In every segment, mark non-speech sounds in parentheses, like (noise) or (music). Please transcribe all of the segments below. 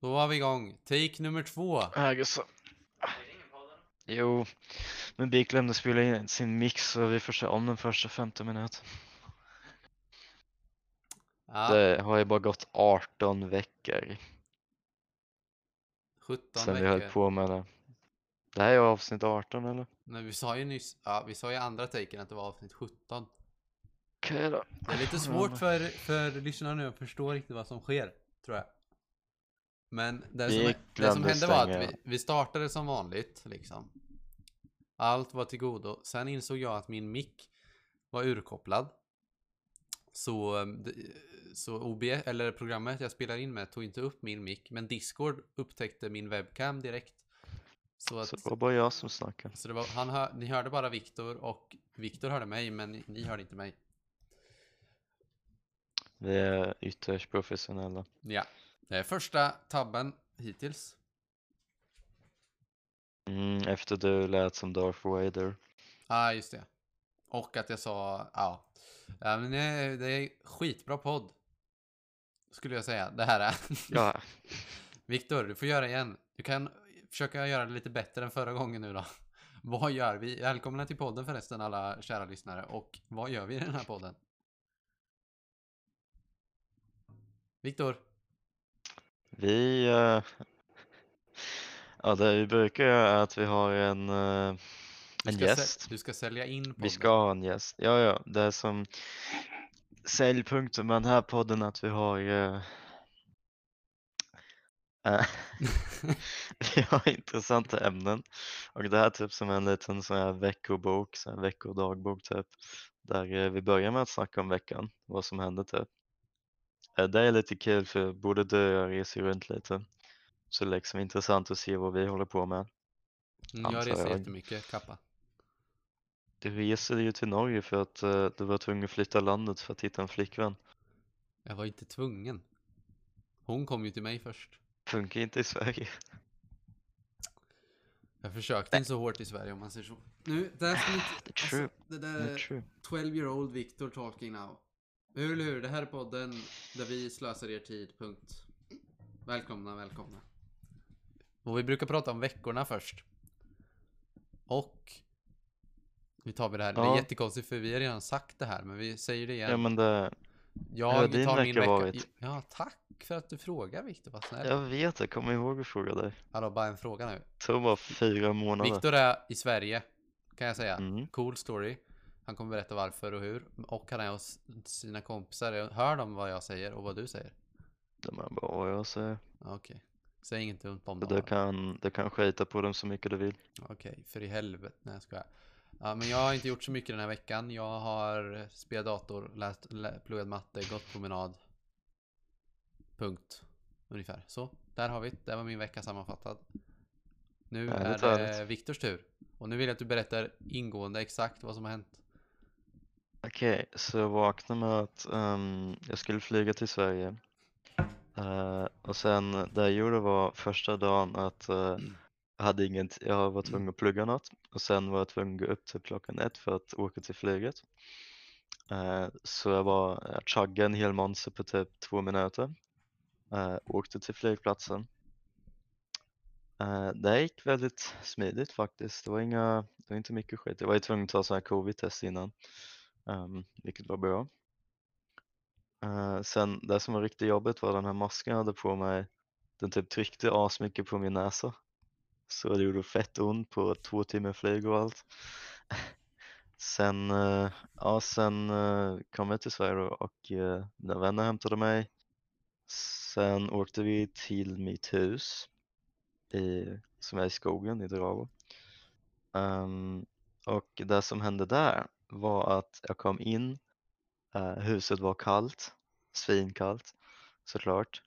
Då var vi igång. Take nummer två. Äh, gussa. Jo, men Bik glömde spela in sin mix så vi får se om den första 15 minuter. Ja, Det har ju bara gått 18 veckor 17 sedan vi höll veckor. på med det. Det här är avsnitt 18 eller? Nej, vi sa ju nyss, ja, vi sa ju i andra taken att det var avsnitt 17. Okej då. Det är lite svårt för, för lyssnarna nu att förstå riktigt vad som sker, tror jag. Men det Vi som, det som glömde hände var att stänga. vi, vi startade som vanligt, liksom. Allt var till godo. Sen insåg jag att min mick var urkopplad. Så, eh, det- så OBS, eller programmet jag spelar in med tog inte upp min mick, men Discord upptäckte min webcam direkt. Så att Så det var bara jag som snackade. så det var, han hör, ni hörde bara Viktor och Viktor hörde mig men ni, ni hörde inte mig. Vi är ytterst professionella. Ja, det är första tabben hittills. Mm, efter du lät som Darth Vader. Ja, ah, just det. Och att jag sa, ja. ja men det, det är skitbra podd. Skulle jag säga. Det här (laughs) är. Ja, Viktor, du får göra igen. Du kan försöka göra det lite bättre än förra gången nu då. (laughs) Vad gör vi? Välkomna till podden förresten alla kära lyssnare. Och vad gör vi i den här podden? Viktor? vi... eh, Ja, det vi brukar göra är att vi har en, eh, Du ska en säl- gäst. Du ska sälja in podden. Vi ska ha en gäst. Ja, ja, det är som säljpunkten med den här podden att vi har eh, eh, (laughs) vi har intressanta ämnen och det här är typ som en liten sån här veckobok, sån här veckodagbok typ där eh, vi börjar med att snacka om veckan, vad som hände typ. Eh, Det är lite kul för både du och jag reser ju runt lite så det är liksom intressant att se vad vi håller på med. Mm, jag antar reser jag. jättemycket, kappa. Du reser ju till Norge för att eh, du var tvungen att flytta landet för att hitta en flickvän. Jag var inte tvungen. Hon kom ju till mig först. Funkar inte i Sverige. Jag försökte inte så hårt i Sverige om man säger så. Nu, det där ska vi Ah, inte... True. Alltså, det där är True. 12 year old Victor talking now. Hur eller hur, det här är podden där vi slösar er tid, punkt. Välkomna, välkomna. Och vi brukar prata om veckorna först. Och... Vi tar vi det här. Det är Ja. jättekonstigt för vi har redan sagt det här, men vi säger det igen. Ja men det, Hur har Jag din tar min vecka vecka. varit? Ja, tack för att du frågar Viktor. Vad snäll. jag vet, jag kommer ihåg att fråga dig. Hallå, bara en fråga nu. Det tog bara fyra månader. Viktor är i Sverige, kan jag säga. Mm. Cool story. Han kommer berätta varför och hur. Och han är hos sina kompisar. Hör de vad jag säger och vad du säger? De är bara, "Åh, jag säger. Ja, Okej. Säg inget ont om Så dem. du bara. kan, du kan skita på dem så mycket du vill. Okej, för i helvete. Nej, jag skojar. Ja, men jag har inte gjort så mycket den här veckan. Jag har spelat dator, läst, lä, pluggat matte, gått promenad. Punkt. Ungefär. Så, där har vi det. Där var min vecka sammanfattad. Nu Härligt, är det härligt. Viktors tur. Och nu vill jag att du berättar ingående exakt vad som har hänt. Okej, så jag vaknade med att ehm, jag skulle flyga till Sverige. Eh, och sen det jag gjorde var första dagen att eh, jag hade inget, jag var tvungen att plugga något och sen var jag tvungen att gå upp till klockan ett för att åka till flyget. Eh, så jag var, jag chuggade en hel monster på typ två minuter. Eh, åkte till flygplatsen. Eh, det gick väldigt smidigt faktiskt. Det var inga, det var inte mycket skit. Jag var ju tvungen att ta sådana här covid-test innan. Ehm, vilket var bra. Eh, sen det som var riktigt jobbigt var den här masken jag hade på mig. Den typ tryckte asmycket på min näsa. Så det gjorde fett ont på två timmar flyg och allt. Sen, eh, ja, sen eh, kom jag till Sverige då och eh, mina vänner hämtade mig. Sen åkte vi till mitt hus i, som är i skogen i Dravo. Ehm, och det som hände där var att jag kom in, eh, huset var kallt, svinkallt såklart.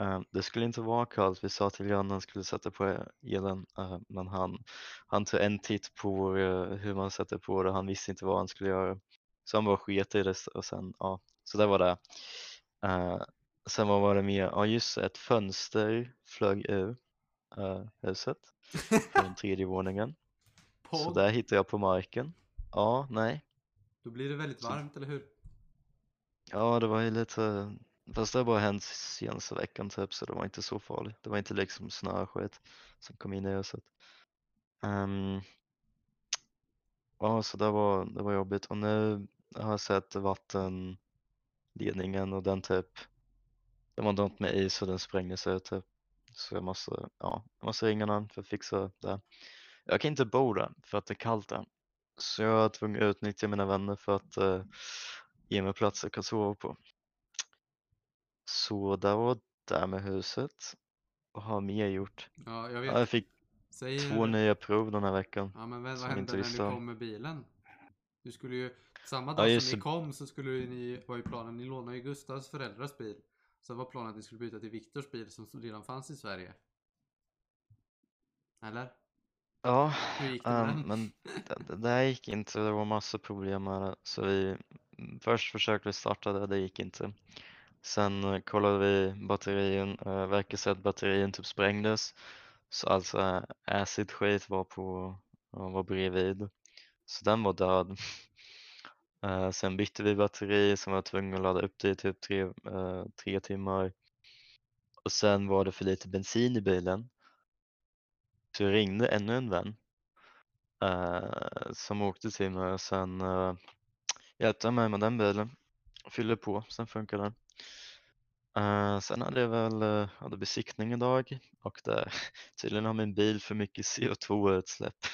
Eh, det skulle inte vara kallt, vi sa till grannen att han skulle sätta på elen, eh, men han, han tog en titt på eh, hur man sätter på det, han visste inte vad han skulle göra. Så han bara sket i det s- och sen, ja, så det var det. Eh, sen vad var det mer? Ja just det, ett fönster flög ur eh, huset från tredje våningen. Så Podd. där hittade jag på marken. Ja, nej. Då blir det väldigt Så- varmt, eller hur? Ja, det var ju lite Fast det har bara hänt senaste veckan typ så det var inte så farligt. Det var inte liksom snö och skit som kom in i huset. Ehm, ja, så det var, det var jobbigt och nu har jag sett vattenledningen och den typ, det var något med is och den sprängdes ut typ. Så jag måste, ja, jag måste ringa någon för att fixa det. Jag kan inte bo där för att det är kallt där. Så jag är tvungen att utnyttja mina vänner för att eh, ge mig plats jag kan sova på. Så där var det med huset. Vad har mer gjort? Ja, jag vet. Ja, jag fick Säg två nya prov den här veckan. Ja, men vad som vad hände inte när ni visste om. kom med bilen? Du skulle ju, samma Ja, dag just som ni det. kom så skulle ju ni, var ju planen, ni lånade ju Gustavs föräldrars bil. Sen var planen att ni skulle byta till Viktors bil som redan fanns i Sverige. Eller? Ja, Hur gick det med ehm, den? men det, det där gick inte. Det var massa problem med det. Så vi först försökte vi starta det, det gick inte. Sen eh, kollade vi batterien, eh, verkar så att batterien typ sprängdes. Så alltså eh, acid skit var på, ja, var bredvid. Så den var död. Eh, sen bytte vi batteri, sen var jag tvungen att ladda upp det i typ tre, eh, tre timmar. Och sen var det för lite bensin i bilen. Så jag ringde ännu en vän eh, som åkte till mig och sen eh, hjälpte han mig med den bilen. Fyllde på, sen funkar den. Eh, sen hade jag väl eh, hade besiktning idag och där, (laughs) tydligen har min bil för mycket (laughs) CO2-utsläpp.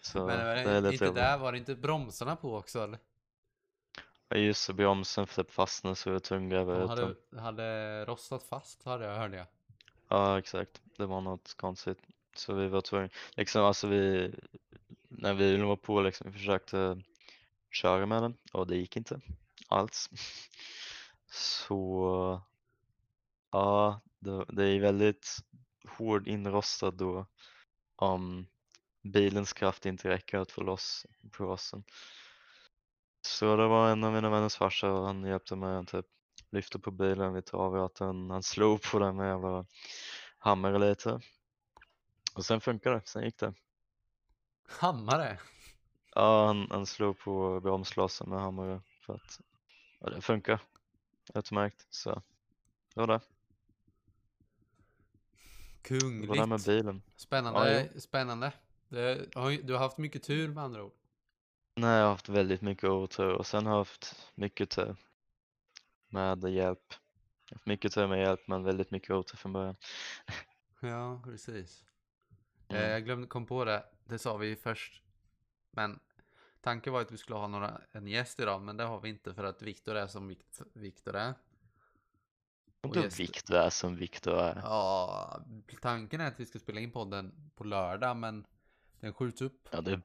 Så Men var det är det, lite inte jobbigt. där, var det inte bromsarna på också? Eller? Ja, Just det, bromsen typ fastnade så jag var tvungen att gräva De ut den. hade, hade rostat fast, hade jag, hörde jag. Ja, exakt. Det var något konstigt. Så vi var tvungna, liksom alltså vi, när vi var på liksom, vi försökte köra med den och det gick inte alls. Så, ja, det, det är väldigt hård inrostad då om bilens kraft inte räcker att få loss brossen. Så det var en av mina vänners farsa och han hjälpte mig att typ lyfta på bilen, vi tog av ratten, han slog på den med jävla hammare lite. Och sen funkade det, sen gick det. Hammare! Ja, han, han slog på bromsglasen med hammare för att ja, det funkar utmärkt. Så det var det. Det var det med Kungligt! bilen. Spännande, spännande. Det, har ju- du har haft mycket tur med andra ord. Nej, jag har haft väldigt mycket otur och sen har jag haft mycket tur med hjälp. Jag har haft mycket tur med hjälp men väldigt mycket otur från början. Ja, precis. Mm. Eh, Jag glömde kom på det, det sa vi ju först. Men tanken var att vi skulle ha några, en gäst idag, men det har vi inte för att Viktor är som Vikt- Viktor är. Och Och då just- Viktor är som Viktor är. Ja, tanken är att vi ska spela in podden på lördag, men den skjuts upp. Ja, det...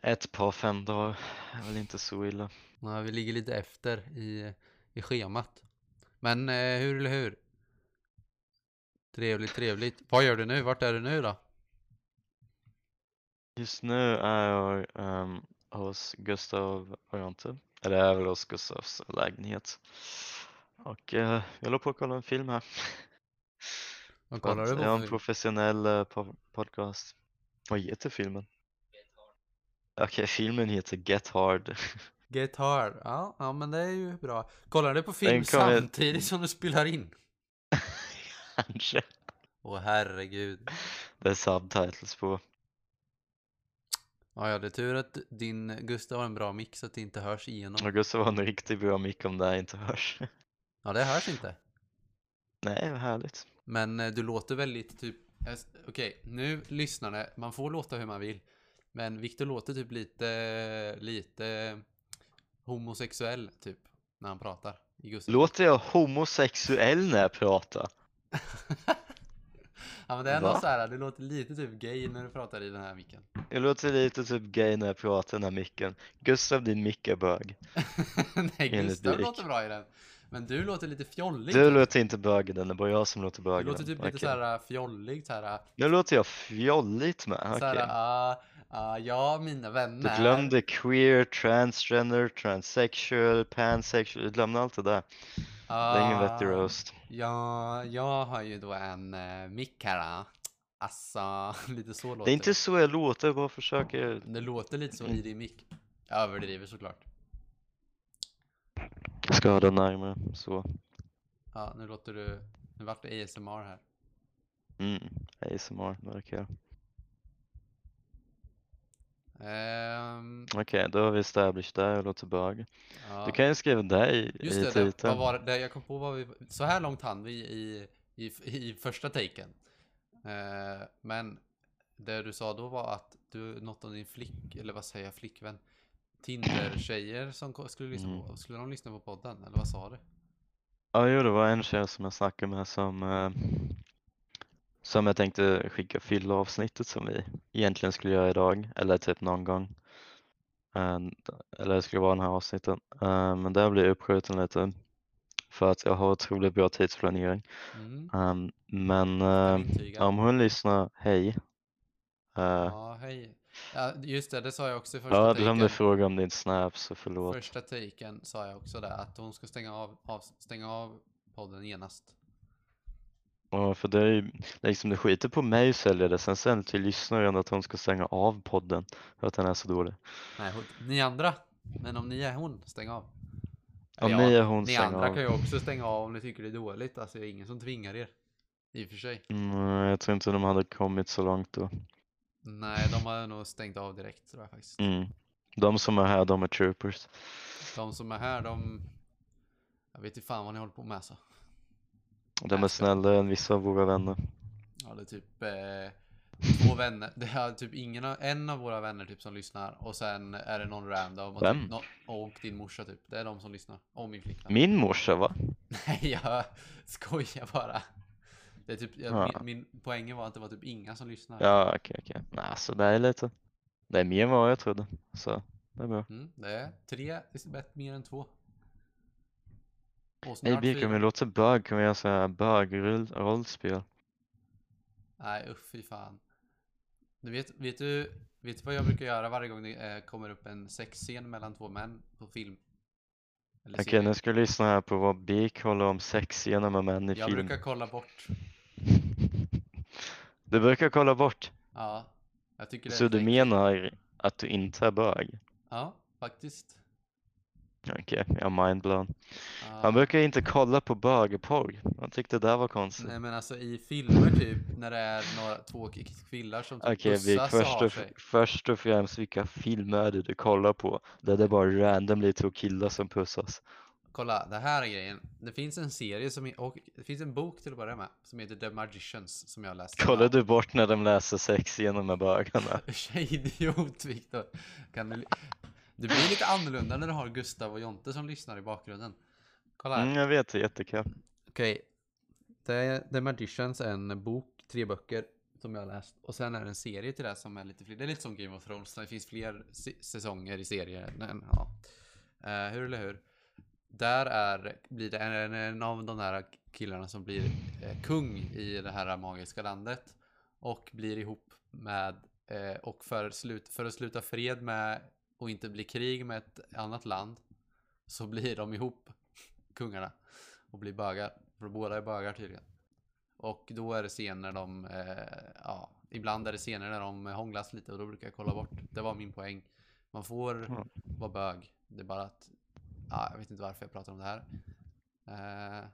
Ett par fem dagar är väl inte så illa. Ja, vi ligger lite efter i, i schemat. Men eh, hur eller hur? Trevligt, trevligt. Vad gör du nu? Vart är du nu då? Just nu är jag ehm, hos Gustav och Jonte. Eller jag är väl hos Gustavs lägenhet. Och eh, jag låg på att kolla en film här. Vad För kollar att du på? jag är för en film? professionell eh, po- podcast. Vad heter filmen? Okej, filmen heter Get Hard. (laughs) Get hard. Ja, ja, men det är ju bra. Kollar du på film Den kommer- samtidigt som du spelar in? Kanske. Åh herregud. Det är subtitles på. Ja, ja, det är tur att din Gustav har en bra mick så att det inte hörs igenom. Och Gustav har en riktigt bra mick om det här inte hörs. (laughs) Ja, det hörs inte. Nej, vad härligt. Men eh, du låter väldigt typ... jag s- Okej, nu lyssnarna, man får låta hur man vill. Men Viktor låter typ lite, lite homosexuell typ när han pratar i Gustav. Låter jag homosexuell när jag pratar? ja, men det är Va? något så här, du låter lite typ gay när du pratar i den här micken. Jag låter lite typ gay när jag pratar i den här micken. Gustav, din mick är bög. (laughs) Nej, Enligt Gustav Erik. låter bra i den. Men du låter lite fjollig. Du typ. låter inte bög i den, det är bara jag som låter du bög i låter den. typ lite Okej. så här fjollig, så här, äh, Nu låter jag fjolligt med. så Okej. här ah, ah, ja, mina Du vänner. glömde queer, transgender, transsexual, pansexual. Du glömde allt det där. Det är ingen vettig Ah, roast. Ja, jag har ju då en eh, mick här. ah. Alltså, (laughs) lite så låter Det är inte så jag låter, jag bara försöker. det. låter lite så i din mick. Jag överdriver såklart. skada närmare. Så. Ja, nu låter du... Nu vart det ASMR här. Mm. ASMR verkar jag. Ehm, Okej, då har vi established där och låter bög. ja. Du kan ju skriva det i, Just i det, det, vad titeln. var det, det, jag kom på vad vi... Så här långt hann vi i, i, i första taken. Eh, men det du sa då var att du, något om din flick, eller vad säger jag, flickvän? Tinder-tjejer som ko- skulle lyssna Mm. på, skulle de lyssna på podden? Eller vad sa du? Ja, jo, det var en tjej som jag snackade med som, eh, som jag tänkte skicka fyllavsnittet som vi egentligen skulle göra idag, eller typ någon gång. Eh, d- Eller det skulle vara den här avsnitten. Eh, Men där blir jag uppskjuten lite för att jag har otroligt bra tidsplanering. Mm, Ehm, Men kan eh, intyga. om hon lyssnar, hej. Eh, Ja, hej. Ja, just det, det sa jag också i första Ja, jag glömde taken. fråga om din snap, så förlåt. Första taken sa jag också där, att hon ska stänga av, av, stänga av podden genast. Ja, för det är ju liksom det skiter på mig att sälja det. Sen sen till lyssnaren att hon ska stänga av podden för att den är så dålig. Nej, hon, ni andra. Men om ni är hon, stäng av. Om Eller ni ja, är hon ni stäng andra av. kan ju också stänga av om ni tycker det är dåligt. Alltså, det är ingen som tvingar er. I och för sig. Mm, jag tror inte de hade kommit så långt då. Nej, de har nog stängt av direkt tror jag faktiskt. Mm. De som är här, de är troopers. De som är här, de... Jag vet inte fan vad ni håller på med alltså. De är Nästa. snällare än vissa av våra vänner. Ja, det är typ eh, två vänner. Det är typ ingen av, en av våra vänner typ som lyssnar. Och sen är det någon random. Och, Vem? Typ, nå- och din morsa typ. Det är de som lyssnar. Och min flickvän. Min morsa va? (laughs) Nej, jag skojar bara. Det är typ, jag, Ja. min, min poängen var att det var typ inga som lyssnar. Ja, okej okej. Nej, så det är lite. Det är mer än vad jag trodde. Så det är bra. Mm, det är tre är bättre mer än två. Och Hej snart Birk, om fyra. jag låter bög kan vi göra så här bög-rollspel. Nej, usch fy fan. Du vet, vet, du, vet du vad jag brukar göra varje gång det eh, kommer upp en sexscen mellan två män på film? Eller Okej, serie? nu ska du lyssna här på vad Birk håller om sex genom med män i jag film. brukar kolla bort. (laughs) Du brukar kolla bort, Ja, jag tycker det är så du fräckt. menar att du inte är bög? Ja, faktiskt. Okej, jag är mindblown. Ja. Han brukar inte kolla på bögporr. Han tyckte det där var konstigt. Nej men alltså i filmer typ, när det är några, två k- killar som typ Okej, Birk, pussas och först har och, sig. först och främst, vilka filmer är det du kollar på? Där det är bara randomly två killar som pussas. Kolla, det här är grejen. Det finns en serie som, är- och det finns en bok till att börja med, som heter The Magicians, som jag läste. Kollar du bort när de läser sex genom med bögarna? (laughs) Tjejidiot Viktor. Kan du... Det blir lite annorlunda när du har Gustav och Jonte som lyssnar i bakgrunden. Kolla här. Mm, jag vet, det är jättekul. Okej. The, The Magicians är en bok, tre böcker som jag har läst. Och sen är det en serie till det här som är lite fler. Det är lite som Game of Thrones. Det finns fler se- säsonger i serier. Men, ja. Eh, hur eller hur? Där är, blir det en, en av de där killarna som blir eh, kung i det här magiska landet. Och blir ihop med, eh, och för, slut, för att sluta fred med och inte bli krig med ett annat land. Så blir de ihop, kungarna och blir bögar. För båda är bögar tydligen. Och då är det scener de, eh, ja, ibland är det scener när de eh, hånglas lite och då brukar jag kolla bort. Det var min poäng. Man får Ja. vara bög. Det är bara att, ja, jag vet inte varför jag pratar om det här. Eh,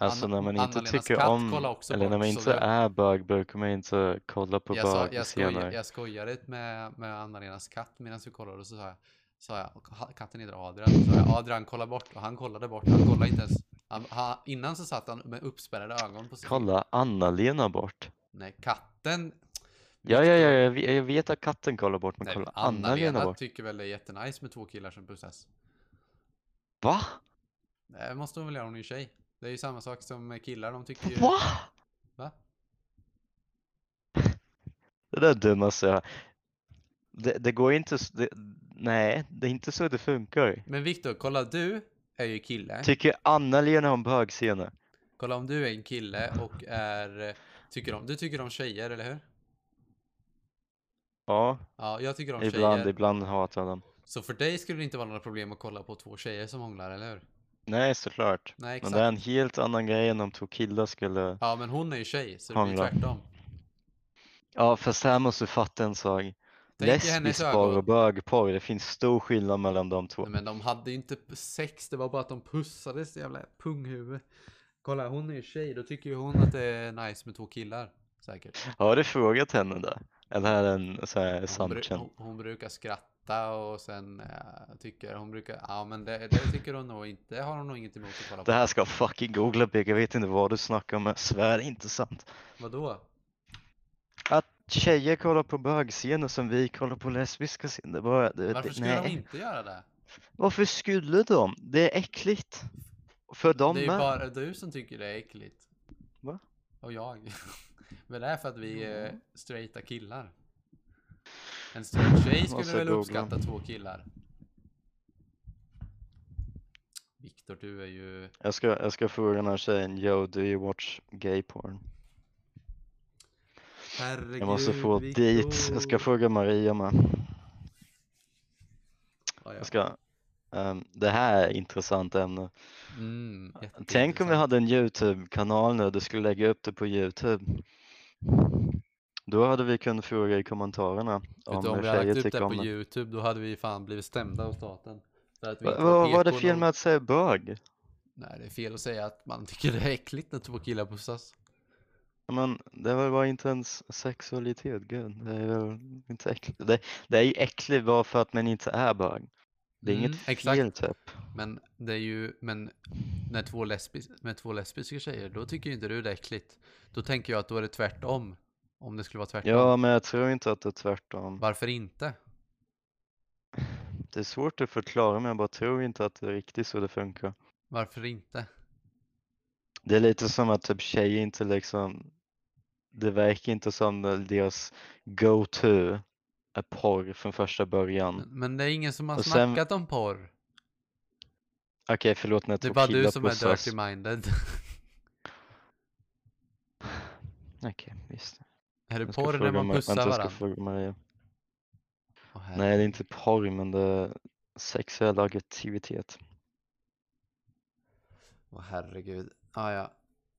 Alltså Anna- när man inte Anna-Lenas tycker katt om, kollar också eller bort, när man så inte det- är bög brukar man inte kolla på jag, sa, bög jag, senare. skoj, jag skojade med, med Anna-Lenas katt medan vi kollade och så sa jag, sa jag och ha- katten heter Adrian, så sa jag Adrian kolla bort och han kollade bort, han kollade inte ens. Han, han, innan så satt han med uppspärrade ögon på sin Kolla Anna-Lena bort. Nej, katten. Ja, ja, ja, jag vet, jag vet att katten kollar bort, men Nej, kolla Anna-Lena Anna-Lena bort. tycker väl det är jättenice med två killar som pussas. Va? Det måste hon väl göra, hon är ju tjej. Det är ju samma sak som killar, de tycker ju... Va? Va? (laughs) Det där är dummaste jag det, det går inte, s- det, nej, det är inte så det funkar. Men Viktor, kolla du är ju kille. Tycker Anna-Lena om bögscener? Kolla om du är en kille och är... eh, Tycker om, du tycker om tjejer, eller hur? Ja, Ja, jag tycker om ibland, tjejer. ibland hatar jag dem. Så för dig skulle det inte vara några problem att kolla på två tjejer som hånglar, eller hur? Nej, såklart. Nej, Men exakt. det är en helt annan grej än om två killar skulle Ja, men hon är ju tjej, så det blir Hånglar. tvärtom. Ja, fast här måste du fatta en sak. Tänk i hennes Lesbisk ögon. och bögporr, det finns stor skillnad mellan de två. Nej, men de hade ju inte p- sex, det var bara att de pussades jävla punghuvud. Kolla, hon är ju tjej, då tycker ju hon att det är nice med två killar. Säkert. Har du frågat henne där? Eller är det en så här Hon, bru- assumption? hon, hon brukar skratta och sen eh, tycker hon brukar, ja men det, det tycker hon nog inte, det har hon nog inget emot att kolla på. Det här ska jag fucking googla Big, jag vet inte vad du snackar om, jag svär det är inte sant. Vadå? Att tjejer kollar på bögscener som vi kollar på lesbiska scener, det bara, det, Varför det, skulle de nej. inte göra det? Varför skulle de? Det är äckligt. För dem det är ju med. bara du som tycker det är äckligt. Va? Och jag. (laughs) Men det är för att vi är straighta killar. En straight tjej Måste skulle väl googla. uppskatta två killar. Viktor, du är ju... Jag ska, jag ska fråga den här tjejen, yo do you watch gay porn? Herregud, Jag måste få Viktor. dates, jag ska fråga Maria med. Ja, ja. Jag ska, ehm, det här är ett intressant ämne. Mm, Tänk om vi jätteintressant. hade en YouTube-kanal nu, du skulle lägga upp det på YouTube. Då hade vi kunnat fråga i kommentarerna Vet om, du, om vi hade tjejer lagt upp det tycker här om på det. YouTube, då hade vi fan blivit stämda av staten. För att vi Va- inte Vad var PK det fel nog. med att säga bög? Nej, det är fel att säga att man tycker det är äckligt när två killar pussas. Men det var bara inte ens sexualitet, gud. Det är väl inte äckligt. Det, det är ju äckligt bara för att man inte är bög. Det är Mm, inget exakt. fel typ. Men det är ju, men när två, lesbis, med två lesbiska tjejer, då tycker ju inte du det är äckligt. Då tänker jag att då är det tvärtom. Om det skulle vara tvärtom. Ja, men jag tror inte att det är tvärtom. Varför inte? Det är svårt att förklara, men jag bara tror inte att det är riktigt så det funkar. Varför inte? Det är lite som att typ tjejer inte liksom, det verkar inte som det- deras go-to är porr från första början. Men- Men det är ingen som har Mm. Och sen- snackat om porr. Okej, förlåt när jag Det är tog bara killar du som är pussas. dirty minded. (laughs) Okej, visst. är det Jag ska porr när fråga man Mar- vänta, pussar jag ska varandra? fråga Maria. Åh, Nej, det är inte porr, men det är sexuell aktivitet. Åh herregud. Ah, ja.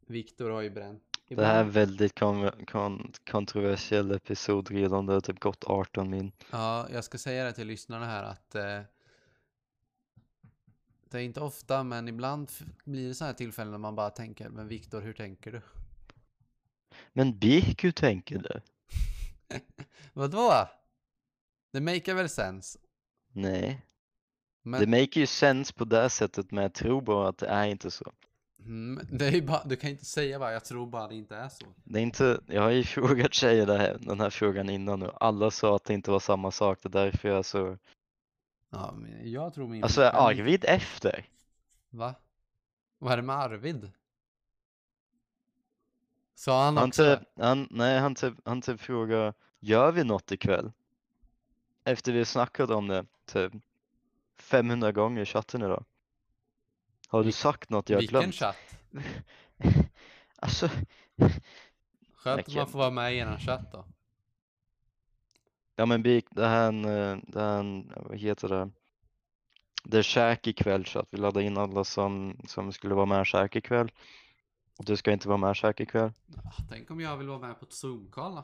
Viktor har ju bränt. Det här är en väldigt kon- kon- kontroversiell episod redan, det har typ gått 18 min. Ja, jag ska säga det till lyssnarna här att eh, det är inte ofta, men ibland f- blir det sådana här tillfällen när man bara tänker, men Viktor, hur tänker du? Men Birk, hur tänker du? Vadå? Det maker väl sens? Nej, Men det maker ju sense på det sättet, men jag tror bara att det är inte så. Mm, det är ju bara, du kan ju inte säga bara, jag tror bara det inte är så. Det är inte, jag har ju (laughs) frågat tjejer det här, den här frågan innan nu, alla sa att det inte var samma sak, det är därför jag är så... Mm. Ja, men jag tror min Alltså är flickvän- Arvid efter? Va? Vad är det med Arvid? Sa han, Han också typ, det? han, nej, han typ, han typ frågar, gör vi något ikväll? Efter vi snackat om det typ 500 gånger i chatten idag. Har du Vil- sagt något jag har Vilken glömt? chatt? (laughs) Alltså, Skönt att Vilken- man får vara med i en chatt då. ja men Bik, det här, är en, eh, det här är en, vad heter det? Det är käk ikväll så att vi laddar in alla som, som skulle vara med käk ikväll. Och du ska inte vara med käk ikväll. Ah, Tänk om jag vill vara med på ett Zoom-call då?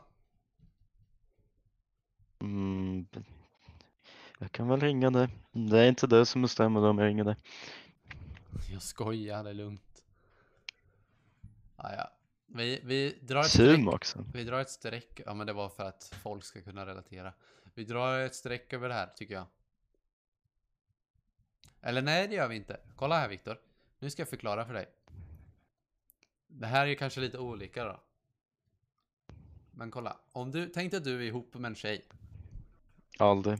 Mm, jag kan väl ringa dig. Det är inte du som bestämmer om jag ringer dig. Jag skojar, det är lugnt. Ah, ja. vi, vi drar ett Zoom streck. också. Vi drar ett streck. Ja, men det var för att folk ska kunna relatera. Vi drar ett streck över det här, tycker jag. Eller nej, det gör vi inte. Kolla här, Viktor. Nu ska jag förklara för dig. Det här är ju kanske lite olika då. Men kolla. Om du, tänk dig att du är ihop med en tjej. Aldrig.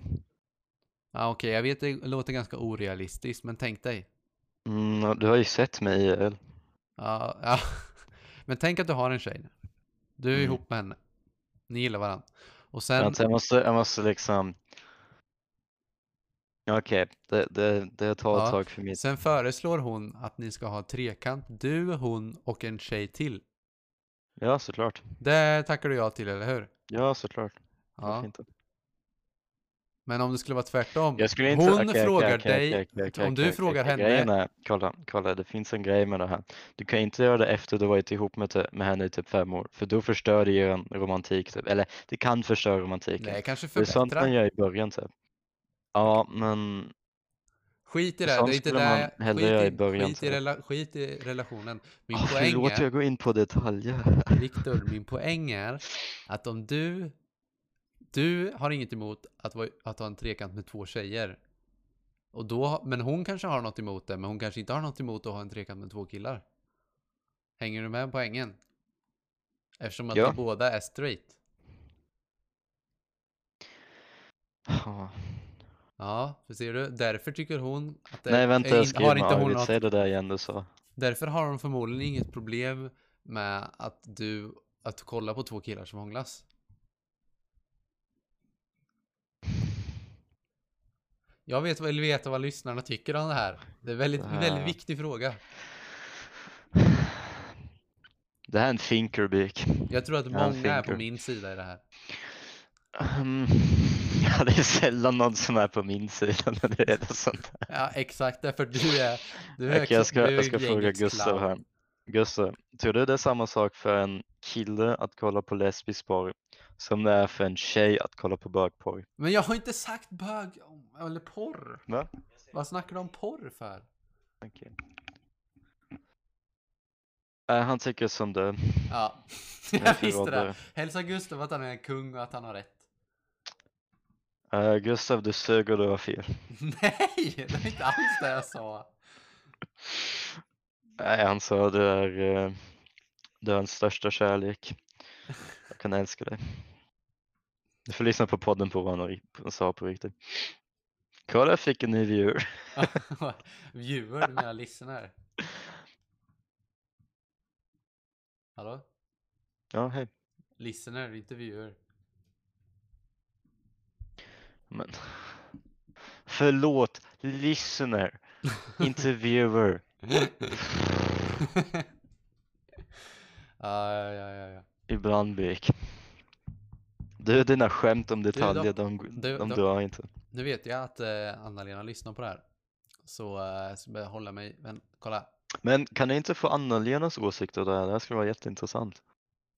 Ja, Okej, jag vet det låter ganska orealistiskt, men tänk dig. Mm, ja, du har ju sett mig IRL. Ja, ja. (laughs) Men tänk att du har en tjej. nu. Du är Mm. ihop med henne. Ni gillar varandra. Och sen, Vänta, jag måste, jag måste liksom... Ja, Okej, det, det, det tar ett Ja, tag för mitt. sen föreslår hon att ni ska ha trekant. Du, hon och en tjej till. Ja, såklart. Det tackar du ja till, eller hur? Ja, såklart. Varför Ja. inte? Men om det skulle vara tvärtom. Jag skulle inte... Hon okej, okej, frågar okej, dig. okej, okej, okej, om du okej, frågar okej. henne- Grejen är, kolla, kolla, det finns en grej med det här. Du kan inte göra det efter du varit ihop med, te- med henne i typ fem år, för då förstör det ju en romantik typ. Eller det kan förstöra romantiken. Nej, kanske det är sånt förbättra. man gör i början typ. Ja, men Skit i det, Sånt det är inte skulle där. man hellre skit göra i i- början, Skit i, tror jag. rela, skit i relationen. Min oh, poäng förlåt, är, jag går in på detaljer. Viktor, min poäng är att om du, du har inget emot att, vara, att ha en trekant med två tjejer. Och då, men hon kanske har något emot det, men hon kanske inte har något emot att ha en trekant med två killar. Hänger du med på poängen? Eftersom att Ja. ni båda är straight. Ja. Ja, för ser du? Därför tycker hon att det Nej, vänta, är jag in- har skriver med inte hon Arvid. något Säg det där igen du sa. Därför har de förmodligen inget problem med att du att kolla på två killar som hånglas. Jag vet, vill veta vad lyssnarna tycker om det här. Det är väldigt, Det här- väldigt viktig fråga. Det här är en thinkerbik. Jag tror att Ja, många är på thinker. min sida i det här. Ehm, (laughs) ja, det är sällan någon som är på min sida när det är något sånt här. Ja, exakt. Därför du är... Du är Okej, jag också- ska, du är jag ska fråga gängets Gustav clown. här. Gustav, tror du det är samma sak för en kille att kolla på lesbisk porr som det är för en tjej att kolla på bögporr? Men jag har inte sagt bög eller porr. Va? Vad snackar du om porr för? Okej. Nej, han tycker som du. (laughs) Ja, Jag är jag visste förrådare. det. Hälsa Gustav att han är en kung och att han har rätt. (laughs) Eh, Gustav, du sög och du har fel. Nej, det är inte alls det jag sa. (laughs) Nej, han sa du är, eh, du är hans största kärlek. Jag kan älska dig. Du får lyssna på podden på vad han har- sa på riktigt. Kolla, jag fick en ny viewer. Viewer, du menar listener? Hallå? Ja, hej. Listener, inte viewer. Men... Förlåt, listener, (laughs) inte viewer. ja, ja, ja, ja, ja. Ibland bek. Du, dina skämt om detaljer, de, du- de, de de- drar inte. Nu vet jag att eh, Anna-Lena lyssnar på det här. Så, eh, så börjar jag hålla mig... Men kolla. Men kan du inte få Anna-Lenas åsikter där? Det här skulle vara jätteintressant.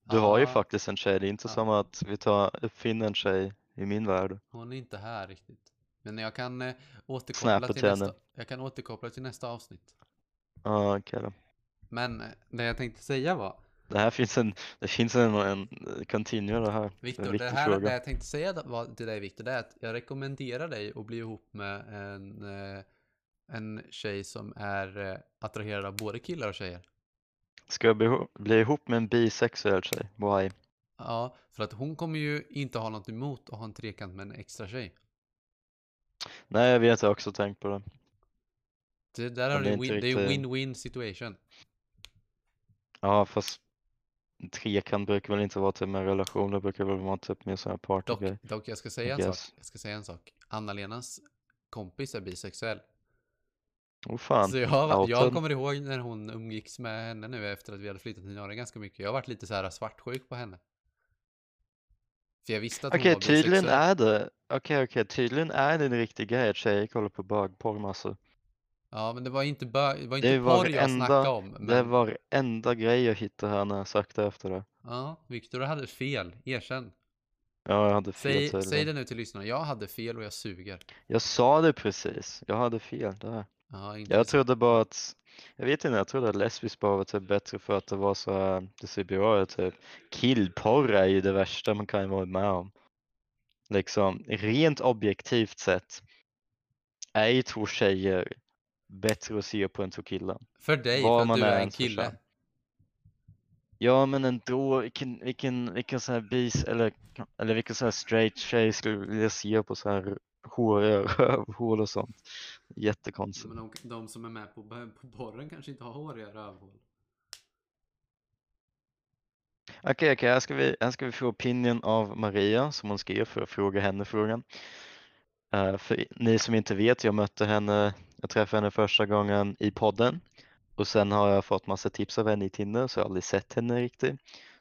Du har ju Ah, faktiskt en tjej, det är inte Ja. som att vi tar, uppfinner en tjej i min värld. Hon är inte här riktigt. Men jag kan eh, återkoppla Snäppet till till henne. nästa... Jag kan återkoppla till nästa avsnitt. Ja, okej då. Men eh, det jag tänkte säga var... Det här finns en, det finns en, en continue det här. Det är en Viktor, det viktig här det fråga. jag tänkte säga då- var till dig Viktor, det är att jag rekommenderar dig att bli ihop med en, eh, en tjej som är eh, attraherad av både killar och tjejer. Ska jag bli, bli ihop med en bisexuell tjej? Why? Ja, för att hon kommer ju inte ha något emot att ha en trekant med en extra tjej. Nej, jag vet, jag har också tänkt på det. Det där Ja, har det du är en inte win, det är riktigt- eh, win-win situation. Ja, fast en trekant brukar väl inte vara typ med relationer, det brukar väl vara typ med sådana här Dock, partygrejer. dock jag ska säga en I sak. guess. Jag ska säga en sak. Anna-Lenas kompis är bisexuell. Åh fan. Så jag, jag Outed. kommer ihåg när hon umgicks med henne nu efter att vi hade flyttat till Nara ganska mycket. Jag har varit lite så här svartsjuk på henne. För jag visste att hon Okej, var tydligen bisexuell. är det. Okej, okej, tydligen är det en riktig grej att tjejer kollar på alltså. bögporr massor. Ja, men det var ju inte, bö- det var Det inte var porr jag varenda- snackade om. Men, Det var enda grej jag hittade här när jag sökte efter det. Ja, Viktor hade fel. Erkänn. Ja, jag hade fel Säg, säg tydligen. det nu till lyssnarna. Jag hade fel och jag suger. Jag sa det precis. Jag hade fel där. Ja, Jag intressant. trodde bara att, jag vet inte, jag trodde att lesbiskt bara var typ bättre för att det var så här, det ser bra ut typ. Killporr är ju det värsta man kan vara med om. Liksom, rent objektivt sett är ju två tjejer bättre att se på än två killar. För dig, Var för att man du är är en ens kille. förtjänt. Ja, men ändå, vilken, vilken, vilken sån här bis eller, eller vilken sån här straight tjej skulle vilja se på så här (laughs) håriga rövhål och sånt. Jättekonstigt. Men de, de som är med på, på borren kanske inte har håriga rövhål. Okej, okej, här, ska vi, här ska vi få opinion av Maria som hon skrev för att fråga henne frågan. Eh, för ni som inte vet, jag mötte henne, jag träffade henne första gången i podden och sen har jag fått massa tips av henne i Tinder så jag har aldrig sett henne riktigt.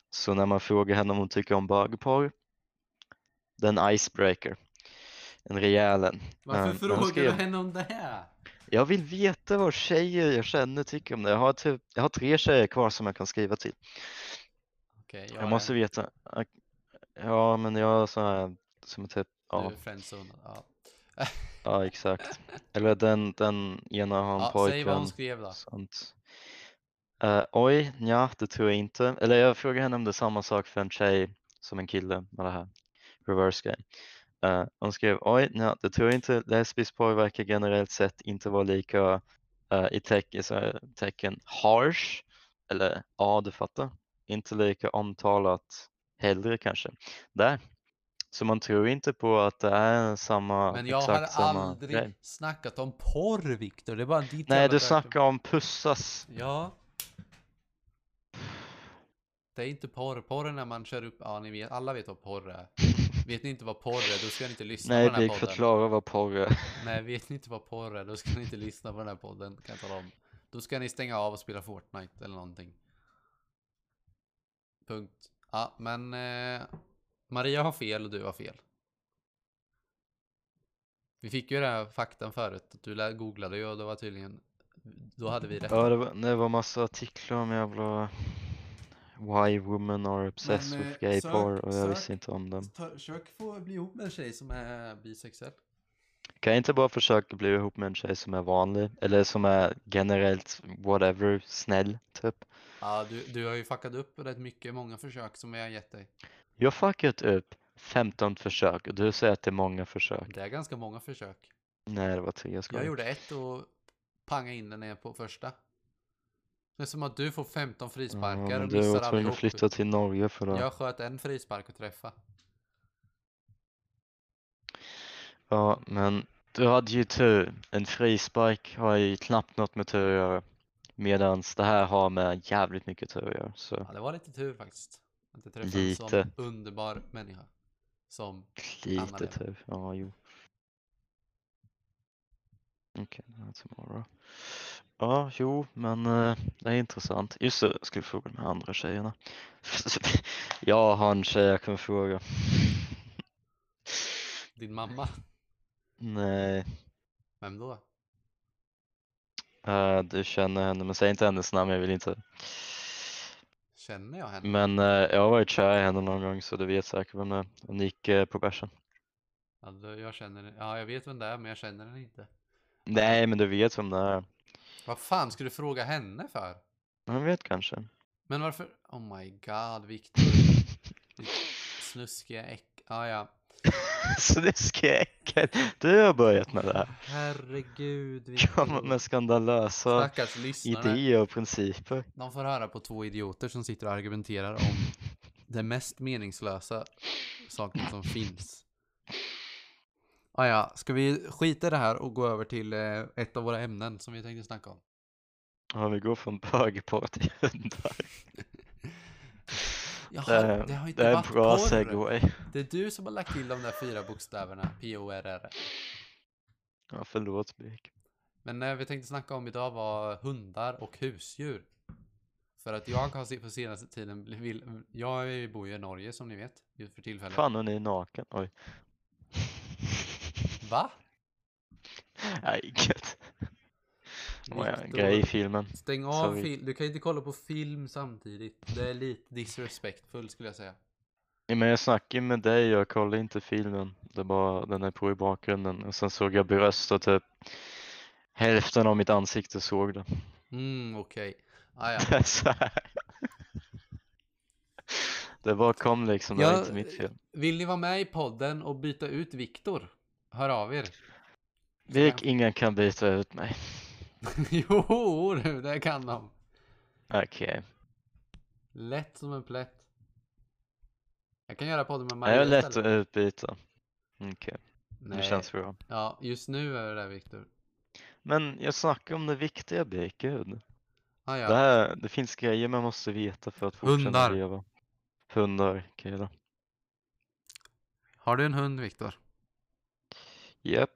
Så när man frågar henne om hon tycker om bögporr, den icebreaker. en rejäl en. Varför Ja, men frågar ska du jag- henne om det här? Jag vill veta vad tjejer jag känner tycker om det. Jag har, typ, jag har tre tjejer kvar som jag kan skriva till. Okej, jag, Jag måste veta. Ja, men jag har så här som är typ, Ja. ja, Du är friendzonad. Ja. ja exakt. Eller den, den ena har en Ja, säg vad pojkvän. hon skrev då. Sånt. Eh, oj, ja, det tror jag inte. Eller jag frågade henne om det är samma sak för en tjej som en kille med det här reverse game. Eh, hon skrev oj, ja, det tror jag inte. Lesbisk porr verkar generellt sett inte vara lika eh, i teck, i så här tecken harsh. Eller ja, du fattar. Inte lika omtalat hellre kanske. Där. Så man tror inte på att det är samma, Men jag har exakt samma aldrig grej. snackat om porr, Viktor. Det är bara ditt jävla Nej, du tvärtom. snackar om pussas. Ja. Det är inte porr. Porr är när man kör upp... Ja, ni vet. Alla vet vad porr (laughs) är. Vet ni inte vad porr är, då ska ni inte lyssna Nej, på den Dick, här podden. förklara vad porr är. Nej, vet ni inte vad porr är, då ska ni inte lyssna på den här podden. Kan jag tala om. Då ska ni stänga av och spela Fortnite eller någonting. Punkt. Ja, men eh, Maria har fel och du har fel. Vi fick ju den här faktan förut. att Du lä- googlade ju och det var tydligen... Då hade vi rätt. Ja, det var, det var massa artiklar om jävla why women are obsessed Men, eh, with gay sök- porr och jag sök. visste inte om dem. Försök få bli ihop med en tjej som är bisexuell. Kan jag inte bara försöka bli ihop med en tjej som är vanlig eller som är generellt whatever snäll typ? Ja, du, du har ju fuckat upp rätt mycket. Många försök som jag har gett dig. Jag har fuckat upp 15 försök och du säger att det är många försök. Det är ganska många försök. Nej, det var tre, jag Jag skojar. gjorde ett och pangade in den ner på första. Det är som att du får 15 Ja, frisparkar men och du missar var tvungen allihop. att flytta till Norge för det. Jag sköt en frispark och träffa. Ja, men du hade ju tur. En frispark har ju knappt något med tur att göra. Medans det här har med jävligt mycket tur att göra. Så Ja, det var lite tur faktiskt. Att jag träffade en sån Lite. underbar människa. Som, lite det. tur. Ja, jo. Okej, det här tomorrow. Ja, jo, men eh, det är intressant. Just det, jag skulle fråga de här andra tjejerna. (laughs) Jag har en tjej jag kan fråga. din mamma. Nej, Vem då? eh, du känner henne, men säg inte hennes namn, jag vill inte. Känner jag henne? Men eh, jag har varit kär i henne någon gång så du vet säkert vem det är. Hon gick eh, på bärsen. Ja, då- jag känner Ja, jag vet vem det är, men jag känner henne inte. Nej men du vet vem det är. Vad fan ska du fråga henne för? Hon vet kanske. (laughs) Men varför? Oh my god, Viktor. Ditt Snuskiga äck... Ah, ja. så det är skräcken. Du har börjat med det här. Herregud, Komma Viktor. med skandalösa Stackars lyssnare. idéer och principer. De får höra på två idioter som sitter och argumenterar om det mest meningslösa saken som finns. Ah, ja, ska vi skita i det här och gå över till eh, ett av våra ämnen som vi tänkte snacka om? Ja, vi går från bögporr till hundar. Jaha, Det det, är- har inte Eh, Det är en varit bra porr. segway. Det är du som har lagt till de där fyra bokstäverna, P-O-R-R. Ja, förlåt Birk. Men eh, vi tänkte snacka om idag var hundar och husdjur. För att jag har se- på senaste tiden, bli- vill, jag bor ju i Norge som ni vet, just för tillfället. Fan, hon är naken. Oj. Va? (laughs) Nej, inget. Det var en Viktor. grej i filmen. Stäng av Sorry. film. Du kan inte kolla på film samtidigt. Det är lite disrespectful skulle jag säga. Ja, men jag snackade ju med dig, jag kollade inte filmen. Det bara den är på i bakgrunden. Och sen såg jag bröst och typ hälften av mitt ansikte såg det. Mm, okej. Ah, ja. Det är (laughs) så här. Det bara kom liksom, det var Jag- inte mitt fel. Vill ni vara med i podden och byta ut Viktor? Hör av er. Vilk, ingen kan byta ut mig. (laughs) jo, du, det kan de. Okej. Lätt som en plätt. Jag kan göra podden med Okay. Maria Jag är lätt att istället. utbyta. Okej, Nej. det känns bra. Ja, just nu är det där Viktor. Men jag snackar om det viktiga, Birk, gud. Ah, Det, ja. här, det finns grejer man måste veta för att fortsätta Hundar. leva. Hundar, okej då. Har du en hund Viktor? Japp,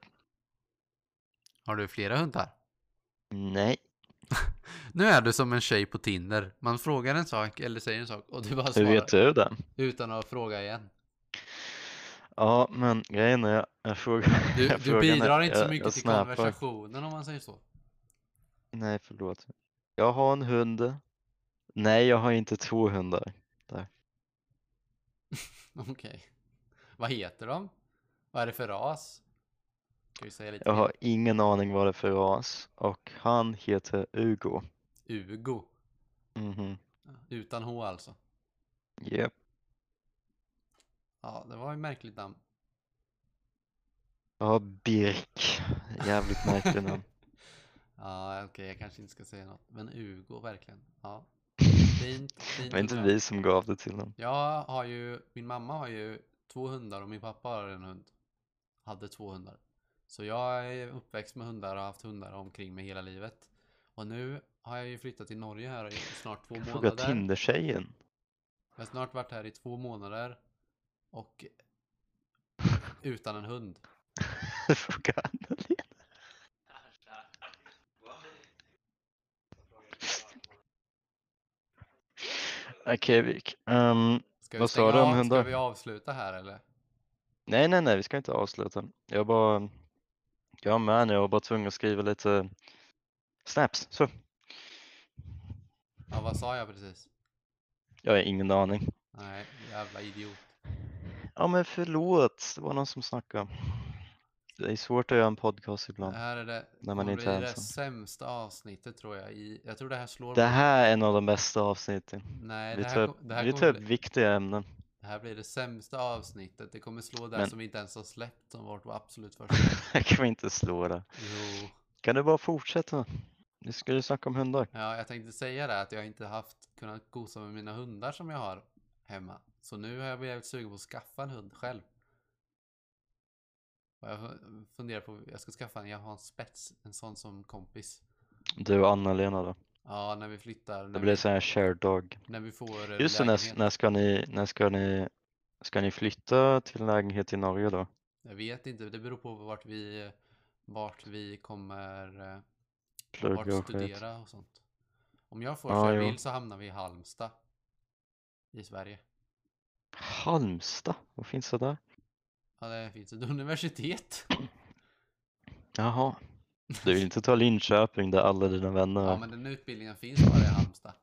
Har du flera hundar? nej. Nu är du som en tjej på Tinder. Man frågar en sak eller säger en sak och du bara Hur svarar vet du det? utan att fråga igen. Ja, Ja, men grejen är, (laughs) jag frågar, Du, du frågan är- bidrar inte så jag- mycket jag till snappar. konversationen om man säger så. (laughs) Nej, förlåt. Jag har en hund. Nej, jag har inte två hundar. Okej. Vad heter de? Vad är det för ras? Ska vi säga lite Jag mer? har ingen aning vad det är för ras och han heter Ugo. Ugo. Mhm. Utan H alltså. Japp. Ja, det var ju märkligt namn. Jag har Birk. Jävligt (laughs) märkligt namn. Ja, okej, jag kanske inte ska säga något. Men Ugo, verkligen. Ja, fint. fint Det var och inte bra. vi som gav det till dem. Jag har ju, min mamma har ju två hundar och min pappa har en hund. Hade två hundar. Så jag är uppväxt med hundar och har haft hundar omkring mig hela livet. Och nu har jag ju flyttat till Norge här i snart två Jag frågar månader. Tinder-tjejen. Jag har snart varit här i två månader. Och utan en hund. Jag frågar Anna-Lena. Okej, Vik. Ehm, Ska vi Vad sa stänga du om av? hundar? Ska vi avsluta här eller? nej, nej, nej, vi ska inte avsluta. Jag bara... Jag är med nu, jag var bara tvungen att skriva lite snaps. Så, Ja, vad sa jag precis? jag har ingen aning. Nej, jävla idiot. Ja, men förlåt, det var någon som snackade. Det är svårt att göra en podcast Det ibland. här är det, När man kommer inte är bli det ensam. sämsta avsnittet tror jag. I, jag tror det här slår Det mot- här är en av de bästa avsnitten. Nej, Vi det tar här, upp, ko- det här vi kommer tar upp bli- viktiga ämnen. (laughs) Det här blir det sämsta avsnittet. Det kommer slå där Men- som vi inte ens har släppt som vårt absolut (laughs) första. Jag kan inte slå det. Jo, Kan du bara fortsätta? Nu ska du snacka om hundar. ja, jag tänkte säga det att jag inte haft kunnat gosa med mina hundar som jag har hemma. Så nu har jag blivit sugen på att skaffa en hund själv. Och jag fu- funderar på, jag ska skaffa en, jag har en spets, en sån som kompis. Du och Anna-Lena då. Ja, när vi flyttar, när, Det blir vi, så här shared dog. när vi får eh, Just det, när, lägenhet. när ska ni, när ska ni, ska ni flytta till en lägenhet i Norge då? Jag vet inte, det beror på vart vi, vart vi kommer eh, Plugga vart och skit. studera och sånt. Om jag får Ja, som jag jo. vill så hamnar vi i Halmstad. I Sverige. Halmstad? Vad finns det där? Ja, det finns ett (laughs) universitet. Jaha. Du vill inte ta Linköping där alla dina vänner Ja, är? men den utbildningen finns bara i Halmstad.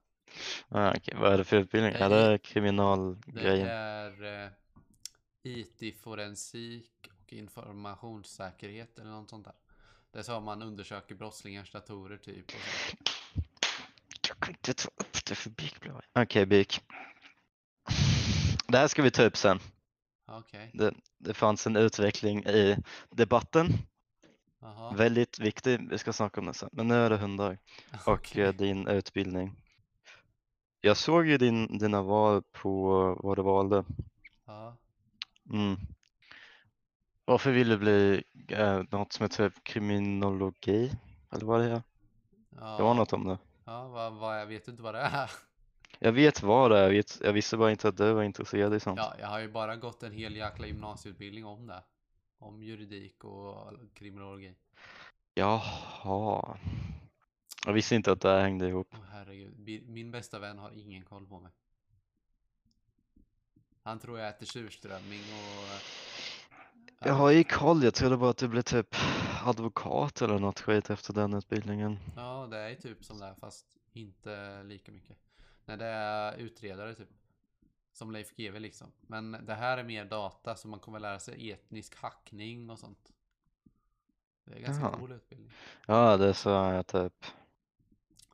Ah, okej. Vad är det för utbildning? Det Är är- det Det kriminalgrejen? är eh, IT-forensik och informationssäkerhet eller något sånt där. Där så har man undersöker brottslingars datorer typ. Och så. Jag kan inte ta upp det för Birk blev arg. Okej, Birk. Det här ska vi ta upp sen. Ja, Okej, Det fanns en utveckling i debatten. jaha. Väldigt viktig. Vi ska snacka om det sen. Men nu är (laughs) det hundar och eh, din utbildning. Jag såg ju din, dina val på vad du valde. Ja. Mm. Varför vill du bli eh, något som heter kriminologi? Eller vad det är? Det var Ja, något om det. ja vad, vad, jag vet inte vad det är. Jag vet vad det är. Jag, vet, jag visste bara inte att du var intresserad i sånt. Ja, jag har ju bara gått en hel jäkla gymnasieutbildning om det. Om juridik och kriminologi. Jaha. Jag visste inte att det här hängde ihop. Åh herregud, Bi- min bästa vän har ingen koll på mig. Han tror jag äter surströmming och... Jag har ju koll. Jag trodde bara att du blev typ advokat eller något skit efter den utbildningen. Ja, det är typ som det här, fast inte lika mycket. Nej, det är utredare typ. Som Leif GW liksom. Men det här är mer data, så man kommer lära sig etnisk hackning och sånt. Det är ganska Jaha. cool utbildning. Ja, det sa jag typ.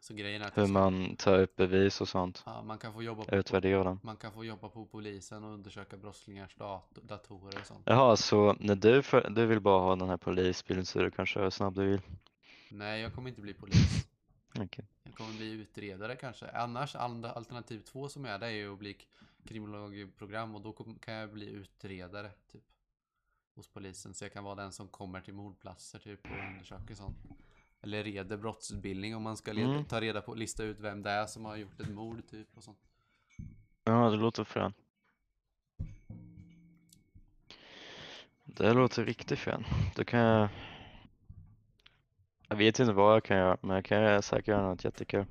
Så grejen är att Hur jag ska- man tar upp bevis och sånt. ja, man kan få jobba på Utvärdera dem. Man kan få jobba på polisen och undersöka brottslingars dat- datorer och sånt. Jaha, så när du, för, du vill bara ha den här polisbilen så du kan köra hur snabb du vill. Nej, jag kommer inte bli polis. Okej. Jag kommer bli utredare kanske. Annars, andra- alternativ två som är, det är ju att bli kriminolog i program och då kom- kan jag bli utredare typ. Hos polisen, så jag kan vara den som kommer till mordplatser typ och undersöker sånt. Eller reder brottsutbildning om man ska leda, Mm. ta reda på, lista ut vem det är som har gjort ett mord typ och sånt. Ja, det låter fränt. Det låter riktigt fränt. Då kan jag... Jag vet inte vad jag kan göra, men jag kan säkert göra något jättekul.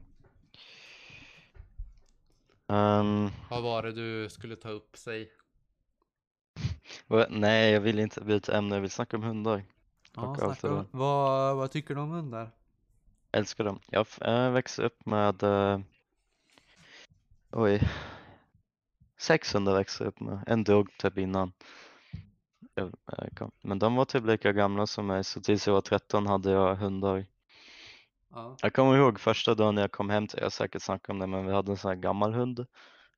Ehm, Vad var det du skulle ta upp sig? Va? Nej, jag vill inte byta ämne, jag vill snacka om hundar. Ja, Och snacka om, avföring. vad, vad tycker du om hundar? Älskar dem. Jag f- jag växte upp med... eh, Oj. Sex hundar växte jag upp med. En dog typ innan. jag, eh, kom. Men de var typ lika gamla som mig, så tills jag var 13 hade jag hundar. Ja. Jag kommer ihåg första dagen jag kom hem till, jag har säkert snackat om det, men vi hade en sån här gammal hund.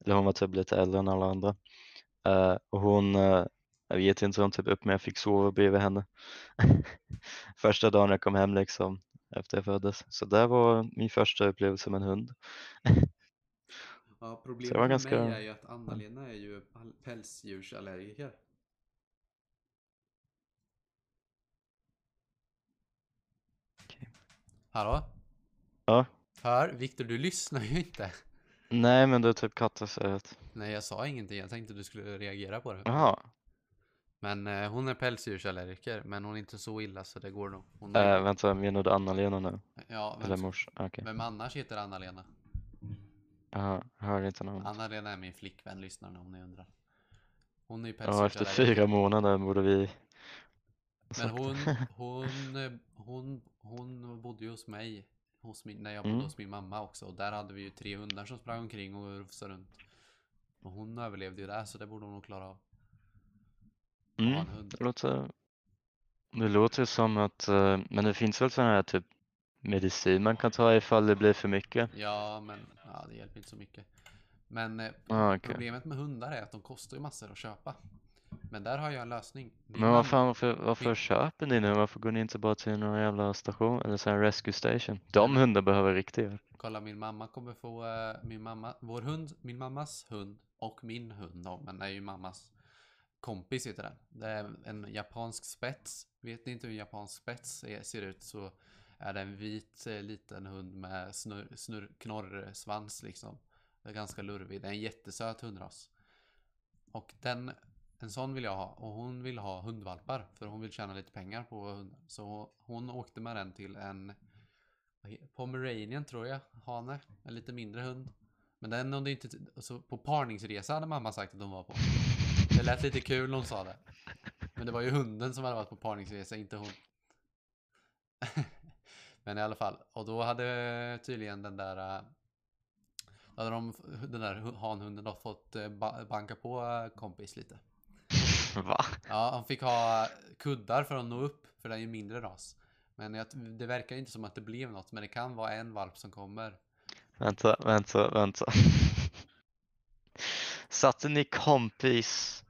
Eller hon var typ lite äldre än alla andra. Eh, och hon, eh, jag vet inte hur hon typ upp men jag fick sova bredvid henne. (laughs) första dagen jag kom hem liksom, efter jag föddes. Så det var min första upplevelse med en hund. Ja, Så problemet det var med ganska- mig är ju att Anna-Lena är ju all- pälsdjursallergiker. Okej. Hallå? Ja. Hör, Viktor du lyssnar ju inte. Nej men det är typ kattesöt. Nej, jag sa ingenting. Jag tänkte du skulle reagera på det. Jaha, Men eh, hon är pälsdjursallergiker, men hon är inte så illa så det går nog. Hon är... äh, vänta menar du Anna-Lena nu? ja, Eller vem, mors? Okej, vem annars heter Anna-Lena? Jaha, hörde inte namnet. Anna-Lena är min flickvän, lyssnar ni om ni undrar. Hon är ju Ja, efter pälsdjursallergiker. fyra månader borde vi... Men sagt det. hon, (laughs) hon, eh, hon, hon bodde ju hos mig hos min, när jag bodde Mm. hos min mamma också. Och där hade vi ju tre hundar som sprang omkring och rufsade runt. Och hon överlevde ju där så det borde hon nog klara av. att ha Mm. en hund. Det låter, det låter ju som att, eh, men det finns väl sån här typ medicin man kan ta ifall det blir för mycket? Ja, men ja, det hjälper inte så mycket. Men eh, Ah, okej. problemet med hundar är att de kostar ju massor att köpa. Men där har jag en lösning. Din Men vad mamma- fan, varför, varför köper ni nu? Varför går ni inte bara till någon jävla station eller sån här rescue station? De hundar behöver riktiga. Kolla, min mamma kommer få eh, min mamma, vår hund, min mammas hund och min hund då, men det är ju mammas kompis heter den. Det är en japansk spets. Vet ni inte hur japansk spets är, ser ut så är det en vit eh, liten hund med snurr, snurr, knorrsvans liksom. Det är ganska lurvig. Det är en jättesöt hundras. Och den, en sån vill jag ha. Och hon vill ha hundvalpar för hon vill tjäna lite pengar på hundar. Så hon åkte med den till en vad he- Pomeranian tror jag, hane. En lite mindre hund. Men den hade inte... Så på parningsresa hade mamma sagt att de var på. Det lät lite kul när hon sa det. Men det var ju hunden som hade varit på parningsresa, inte hon. (laughs) Men i alla fall. Och då hade tydligen den där... eh, Då hade de, den där hu- hanhunden då fått eh, ba- banka på eh, kompis lite. (laughs) Va? Ja, han fick ha kuddar för att nå upp, för det är ju mindre ras. Men jag, det verkar inte som att det blev något, men det kan vara en valp som kommer. Vänta, vänta, vänta. Satte ni kompis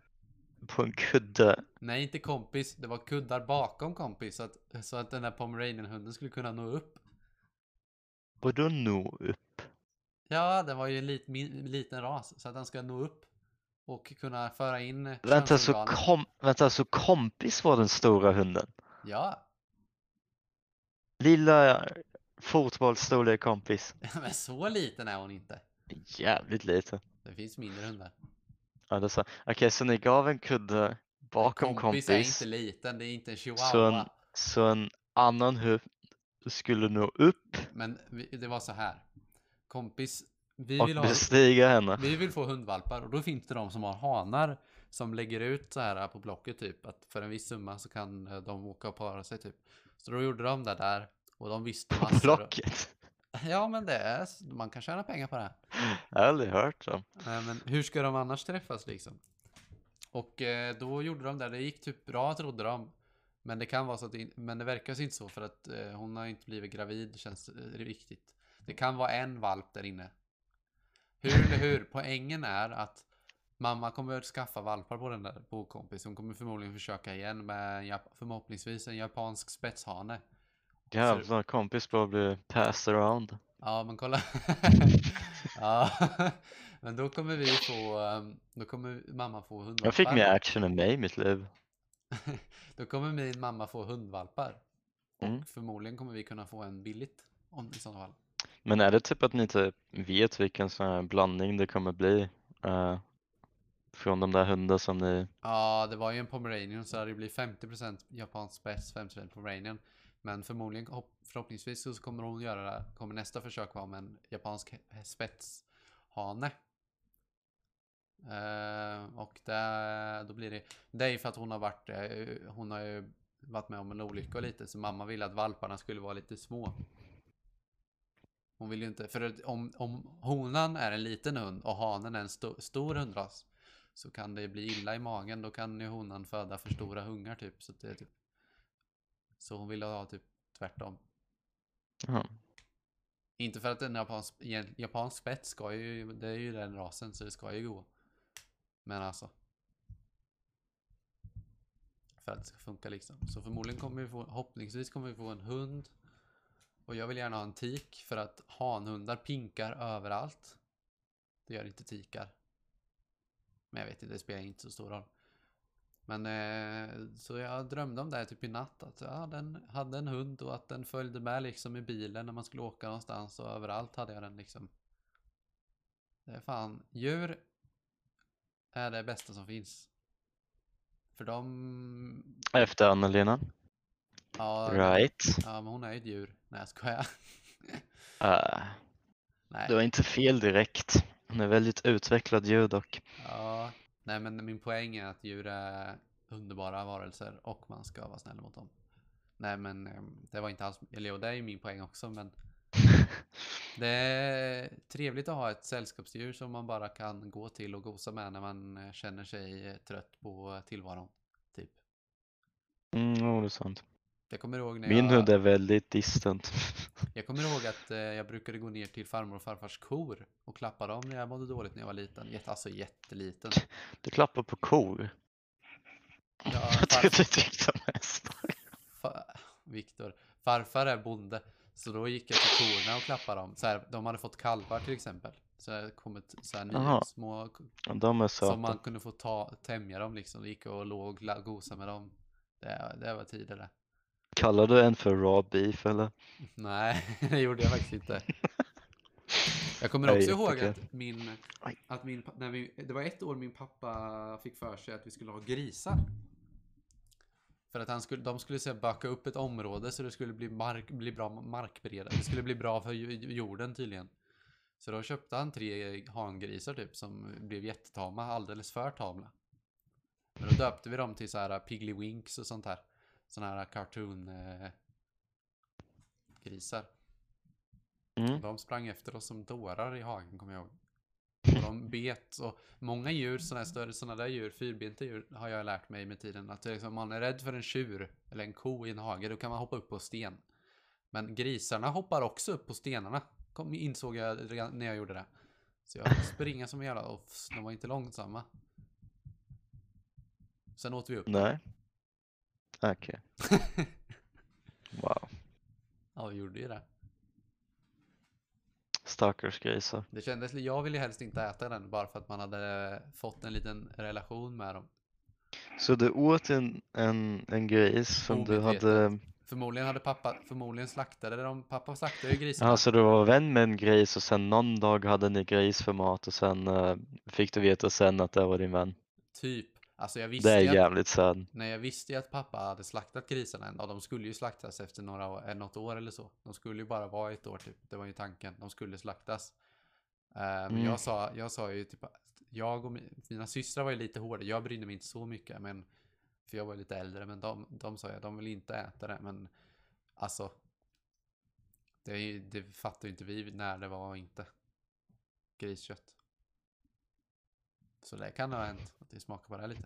på en kudde? Nej, inte kompis, det var kuddar bakom kompis, så att, så att den där pomeranian-hunden skulle kunna nå upp. Vadå nå upp? Ja, den var ju en lit, min, liten ras, så att den ska nå upp och kunna föra in eh, Vänta så, könsorganen. kom, vänta, så kompis var den stora hunden? Ja, (laughs) Lilla fotbollsstorlek kompis. men så liten är hon inte. Jävligt lite. Det finns mindre hundar. Ja, det är så. Okej, så ni gav en kudde bakom kompis, Kompis är inte liten, det är inte en så, en, chihuahua. så en annan hund skulle nå upp Men vi, det var så här. Kompis, vi och vill ha... bestiga henne. Vi vill få hundvalpar och då finns det de som har hanar som lägger ut så här på Blocket typ att för en viss summa så kan eh, de åka och para sig typ. Så då gjorde de det där och de visste På massor. Blocket. Ja men det är, man kan tjäna pengar på det. här. Jag har aldrig hört dem. Nej, Eh, men hur ska de annars träffas liksom? Och eh, då gjorde de det, det gick typ bra trodde de. Men det kan vara så att det, men det verkar inte så för att eh, hon har inte blivit gravid känns eh, riktigt. Det kan vara en valp där inne. Hur eller hur? Poängen är att mamma kommer skaffa valpar på den där bokompis. Hon kommer förmodligen försöka igen med en jap- förhoppningsvis en japansk spetshane. Jävlar, kompis bara blir passed around. Ja, men (laughs) kolla. ja, men då kommer vi få, ehm, då kommer mamma få hundvalpar. Jag fick mer action än mig i mitt liv. (laughs) Då kommer min mamma få hundvalpar. Mm. Och förmodligen kommer vi kunna få en billigt. Om, I sådana fall. Men är det typ att ni inte vet vilken sån här blandning det kommer bli? eh, från de där hundar som ni... Ja, det var ju en pomeranian så det blir 50% japansk spets, 50% pomeranian. Men förmodligen, hopp, förhoppningsvis så kommer hon göra det. här. Kommer nästa försök vara med en japansk spetshane. Eh, och där, då blir det, det är ju för att hon har varit, eh, hon har ju varit med om en olycka och lite, så mamma ville att valparna skulle vara lite små. Hon vill ju inte, för att om, om honan är en liten hund och hanen är en sto, stor hundras så kan det bli illa i magen, då kan ju honan föda för stora hungar typ. Så, att det är typ, så hon ville ha typ tvärtom. Jaha. Inte för att en japansk, en japansk spets ska ju, det är ju den rasen så det ska ju gå. Men alltså. För att det ska funka liksom. Så förmodligen kommer vi få, hoppningsvis kommer vi få en hund. Och jag vill gärna ha en tik för att hanhundar pinkar överallt. Det gör inte tikar. Men jag vet inte, det spelar inte så stor roll. Men eh, så jag drömde om det här typ i natt. Att ja, den hade en hund och att den följde med liksom i bilen när man skulle åka någonstans och överallt hade jag den liksom. Det är fan, djur är det bästa som finns. För de, Efter Anna-Lena. ja, Right. ja men hon är ju ett djur. Nej jag skojar. (laughs) Ah, Nej. det var inte fel direkt. Hon är väldigt utvecklad djur dock. Ja, nej men min poäng är att djur är underbara varelser och man ska vara snäll mot dem. Nej men ehm, det var inte alls, eller jo det är ju min poäng också (laughs) men det är trevligt att ha ett sällskapsdjur som man bara kan gå till och gosa med när man eh, känner sig eh, trött på tillvaron. Typ. Mm, jo, det är sant. Jag kommer ihåg när Min jag... hund är väldigt distant. (laughs) Jag kommer ihåg att eh, jag brukade gå ner till farmor och farfars kor och klappa dem när jag mådde dåligt när jag var liten. Jätte, alltså (laughs) jätteliten. Du klappar på kor. (laughs) Ja, Jag farfar- tyckte du tyckte om hästar. Fa- Viktor, farfar är bonde. Så då gick jag till korna och klappade dem. Så här, de hade fått kalvar till exempel. Så det kom ett, så här nya Jaha. små Ja, De är söta. som man kunde få ta, tämja dem liksom. Då gick jag och låg och la- gosade med dem. Det, det var tider det. Kallar du en för raw beef eller? (laughs) Nej, det gjorde jag faktiskt inte. Jag kommer Nej, också ihåg jättekul. att min, Aj. att min, pa- när vi, det var ett år min pappa fick för sig att vi skulle ha grisar. För att han skulle, de skulle så här böka upp ett område så det skulle bli, mark, bli bra markbereda. Det skulle bli bra för ju- jorden tydligen. Så då köpte han tre hangrisar typ som blev jättetama, alldeles för tamla. Men då döpte vi dem till så här Piggly Winks och sånt här. Såna här cartoon eh, grisar. Mm. De sprang efter oss som dårar i hagen kommer jag ihåg. Och de bet och många djur, sådana här större, sådana där djur, fyrbenta djur har jag lärt mig med tiden. Att liksom, om man är rädd för en tjur eller en ko i en hage, då kan man hoppa upp på sten. Men grisarna hoppar också upp på stenarna. Kom, insåg jag redan när jag gjorde det. Så jag fick springa som en jävla och de var inte långsamma. Sen åt vi upp. Nej. (laughs) Okej. Wow. Ja, vi gjorde ju det. Stackars grisar. Det kändes, jag ville helst inte äta den bara för att man hade fått en liten relation med dem. Så du åt en, en, en gris som du hade... Förmodligen hade pappa, förmodligen slaktade de, pappa slaktade ju grisarna. Ja, så du var vän med en gris och sen någon dag hade ni gris för mat och sen eh, fick du veta sen att det var din vän. Typ. Alltså jag Det visste är ju att, jävligt sad. när jag visste ju att pappa hade slaktat grisarna en dag, de skulle ju slaktas efter några år, eh, något år eller så. De skulle ju bara vara ett år typ, det var ju tanken, de skulle slaktas. Eh, men Mm. jag, sa, jag sa ju typ, att jag och mi- mina systrar var ju lite hårda, jag brydde mig inte så mycket, men för jag var ju lite äldre, men de, de sa jag, de vill inte äta det, men alltså. Det, är ju- det fattar ju inte vi när det var och inte. Griskött. Så det kan ha hänt, att vi smakar på det här lite.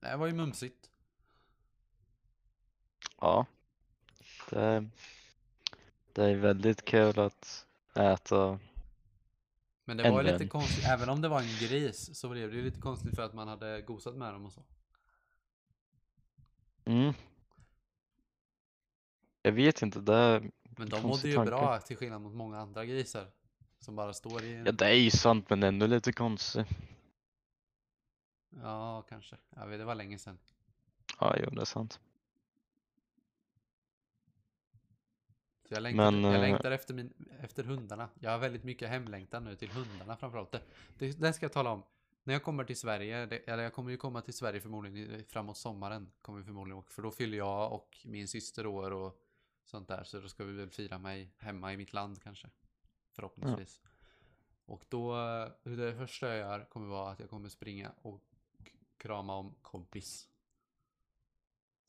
Det var ju mumsigt. Ja. Det, det är väldigt kul att äta. Men det var ju Ändå. lite konstigt, även om det var en gris så blev det ju lite konstigt för att man hade gosat med dem och så. Mm. Jag vet inte, det, Men de mådde Konstig ju tanke. bra till skillnad mot många andra grisar. Som bara står i en... ja, det är ju sant men ändå lite konstigt. Ja, kanske. Jag vet, det var länge sedan. Ja, jo, det är sant. Så jag, längtar, Men, jag eh, längtar efter, min, efter hundarna. Jag har väldigt mycket hemlängtan nu till hundarna framförallt. Det, det, det ska jag tala om. När jag kommer till Sverige, det, eller jag kommer ju komma till Sverige förmodligen i- framåt sommaren. Kommer vi förmodligen åka, för då fyller jag och min syster år och sånt där. Så då ska vi väl fira mig hemma i mitt land kanske. Förhoppningsvis. Och då, eh, det första jag gör kommer vara att jag kommer springa och krama om kompis.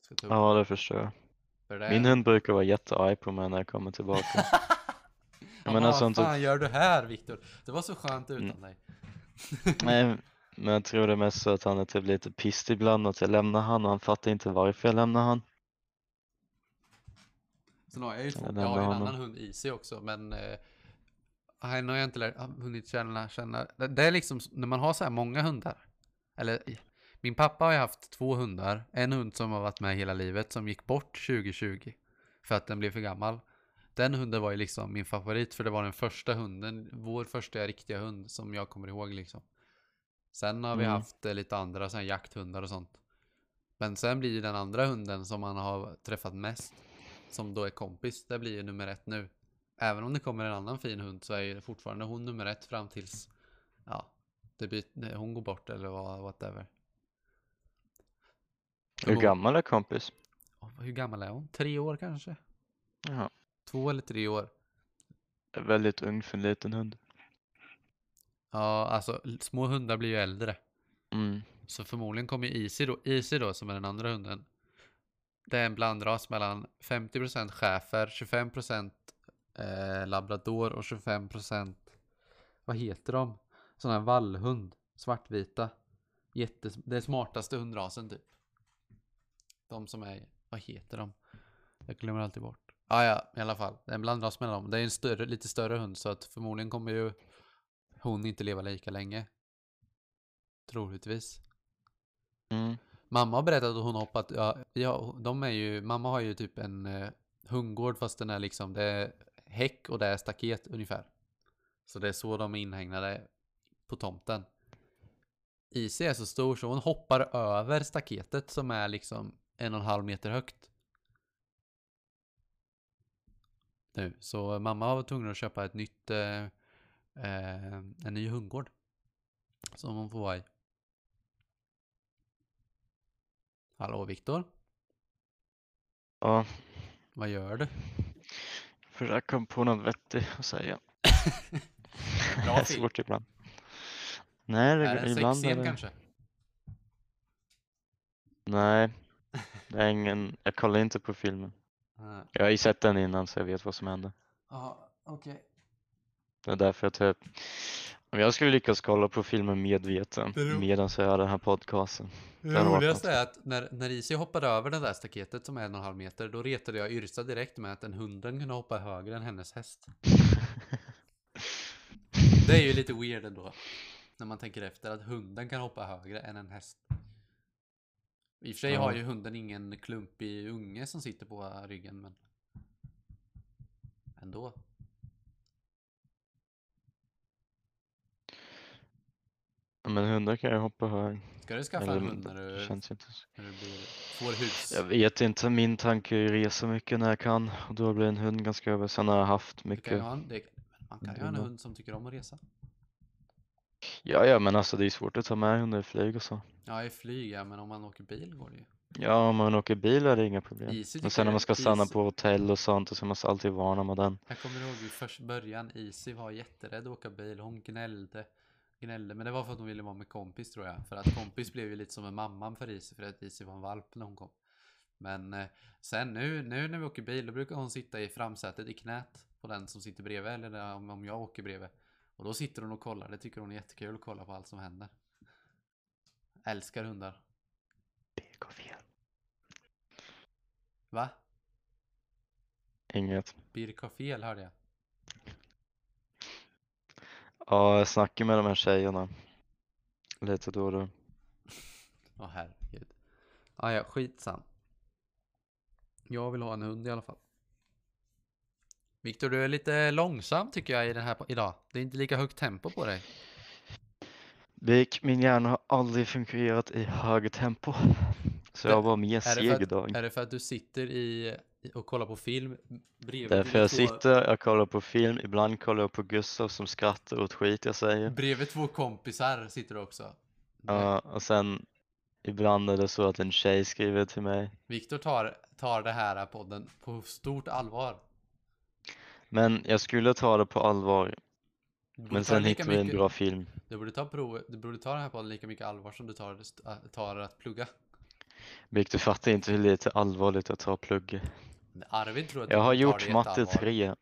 Ska ta upp Ja, det förstår jag. för det. Min hund brukar vara jättearg på mig när jag kommer tillbaka. alltså, Ja, menar vad sånt- fan gör du här Viktor? Det var så skönt utan Mm. dig. Nej, men jag tror det är mest så att han är typ lite pissed ibland att jag lämnar han och han fattar inte varför jag lämnar han. Sen har jag ju två, Jag jag har ju en lämnar honom. annan hund i sig också, men eh, han har jag inte lär, hunnit känna, känna. Det, det är liksom s- när man har så här många hundar. Eller i- min pappa har ju haft två hundar. En hund som har varit med hela livet som gick bort 2020 för att den blev för gammal. Den hunden var ju liksom min favorit för det var den första hunden, vår första riktiga hund som jag kommer ihåg liksom. Sen har vi Mm. haft eh, lite andra så här jakthundar och sånt. Men sen blir ju den andra hunden som man har träffat mest, som då är kompis, det blir ju nummer ett nu. Även om det kommer en annan fin hund så är ju fortfarande hon nummer ett fram tills ja, det byt, hon går bort eller vad- whatever. Hur Hon- gammal är kompis? Hur gammal är hon? Tre år kanske? Jaha. Två eller tre år? Väldigt ung för en liten hund. Ja, alltså l- små hundar blir ju äldre. Mm. Så förmodligen kommer ju Easy då, Easy då som är den andra hunden. Det är en blandras mellan 50% schäfer, 25% eh, labrador och 25% vad heter de? Sån här vallhund, svartvita. Jättes det är smartaste hundrasen typ. De som är, vad heter de? Jag glömmer alltid bort. Ah, ja, i alla fall. Det är en blandras mellan dem. Det är en större, lite större hund så att förmodligen kommer ju hon inte leva lika länge. Troligtvis. Mm. Mamma har berättat att hon hoppat, ja, ja de är ju, mamma har ju typ en eh, hundgård fast den är liksom, det är häck och det är staket ungefär. Så det är så de är inhägnade på tomten. IC är så stor så hon hoppar över staketet som är liksom en och en halv meter högt. Nu, så mamma var tvungen att köpa ett nytt, eh, eh, en ny hundgård. Som hon får vara i. Hallå Viktor, Ja, vad gör du? (laughs) för jag kom på något vettigt att säga. det (laughs) (laughs) Bra är film. svårt ibland. Nej, det, Är det en ibland är sexscen det... kanske? (laughs) Nej, det är ingen... jag kollar inte på filmen. Ja, Jag har ju sett den innan så jag vet vad som hände. okej. Det är därför jag typ, om jag skulle lyckas kolla på filmen medveten Det är- medan jag gör den här podcasten. Det Den var roligaste är att när, när Isi hoppade över det där staketet som är en och en halv meter, då retade jag Yrsa direkt med att den hunden kunde hoppa högre än hennes häst. (laughs) Det är ju lite weird ändå. När man tänker efter att hunden kan hoppa högre än en häst. I och för sig Ja. har ju hunden ingen klumpig unge som sitter på ryggen, men... Ändå. Men hundar kan ju hoppa hög. Ska du skaffa Eller, en men hund när det du, känns ju inte så. när du blir, får hus? Jag vet inte, min tanke är ju resa mycket när jag kan och då blir en hund ganska över. Sen har jag haft Du kan ju mycket. Mm. ha en, det, man kan ju ha en hund som tycker om att resa. Ja, ja, men alltså det är svårt att ta med hundar i flyg och så. Ja, i flyg ja, men om man åker bil går det ju. Ja, om man åker bil är det inga problem. Easy tycker Och sen när jag- man ska stanna Easy- på hotell och sånt och så måste alltid varna med den. Jag kommer ihåg i först början, Easy var jätterädd att åka bil. Hon gnällde. Gnällde, men det var för att hon ville vara med kompis tror jag. För att kompis blev ju lite som en mamman för Easy, för att Easy var en valp när hon kom. Men eh, sen nu, nu när vi åker bil, då brukar hon sitta i framsätet i knät på den som sitter bredvid, eller där, om, om jag åker bredvid. Och då sitter hon och kollar, det tycker hon är jättekul att kolla på allt som händer. Älskar hundar. Det går fel. Va? Inget. Birk har fel hörde jag. Ja, jag snackar med de här tjejerna. Lite då och då. Åh herregud. Ah, ja, skitsam. Jag vill ha en hund i alla fall. Viktor, du är lite långsam tycker jag i den här på- idag. Det är inte lika högt tempo på dig. Bik, min hjärna har aldrig fungerat i hög tempo. Så jag Det- var mer är det för seg idag. Är det för att du sitter i i- och kollar på film bredvid Därför dina jag två, sitter, jag kollar på film, ibland kollar jag på Gustav som skrattar åt skit jag säger. Bredvid två kompisar sitter du också. Ja, och sen ibland är det så att en tjej skriver till mig. Viktor tar, tar det här podden på stort allvar. Men jag skulle ta det på allvar Du borde Men ta det sen lika hittade vi en mycket- bra film. Du borde ta, provet, du borde ta det här på lika mycket allvar som du tar, det- äh, tar att plugga. Vic, du fattar inte hur lite allvarligt jag tar plugg. Arvid tror att Jag du har tar gjort det matte jätteallvarligt. 3.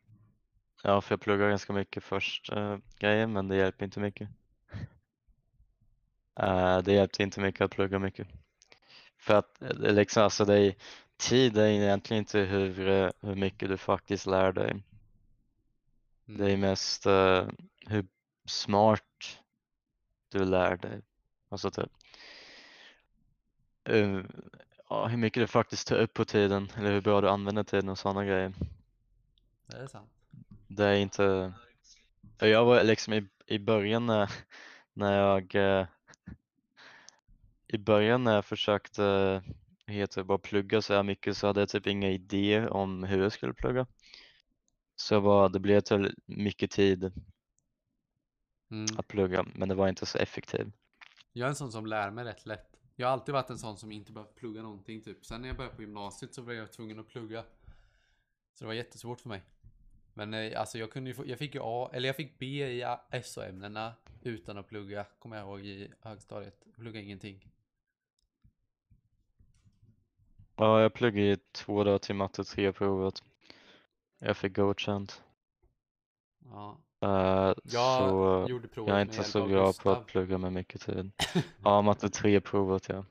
Ja, för jag pluggade ganska mycket först uh, grejer, men det hjälper (laughs) inte mycket. Eh, det hjälpte inte mycket att plugga mycket. För att eh, det är liksom, alltså det är, tid är egentligen inte hur, eh, hur mycket du faktiskt lär dig. Det är Mm. mest eh, hur smart du lär dig. Alltså typ. eh, ja, hur mycket du faktiskt tar upp på tiden eller hur bra du använder tiden och sådana grejer. Det är sant. Det är inte... Ja, Jag var liksom i, i början när, när jag... eh, I början när jag försökte vad heter det, bara plugga så här mycket så hade jag typ inga idéer om hur jag skulle plugga. Så jag bara, det blev till mycket tid Mm. att plugga men det var inte så effektivt. Jag är en sån som lär mig rätt lätt. Jag har alltid varit en sån som inte behövt plugga någonting typ. Sen när jag började på gymnasiet så blev jag tvungen att plugga. Så det var jättesvårt för mig. Men eh, alltså jag kunde ju få, jag fick ju A, eller jag fick B i A- SO-ämnena utan att plugga, kommer jag ihåg i högstadiet. Plugga ingenting. Ja, jag pluggade i två dagar till matte 3-provet. Jag fick godkänt. Ja. Eh, Jag så gjorde provet jag är med inte hjälp så av bra på Gustav. att plugga med (laughs) mycket tid. Ja, matte 3-provet ja.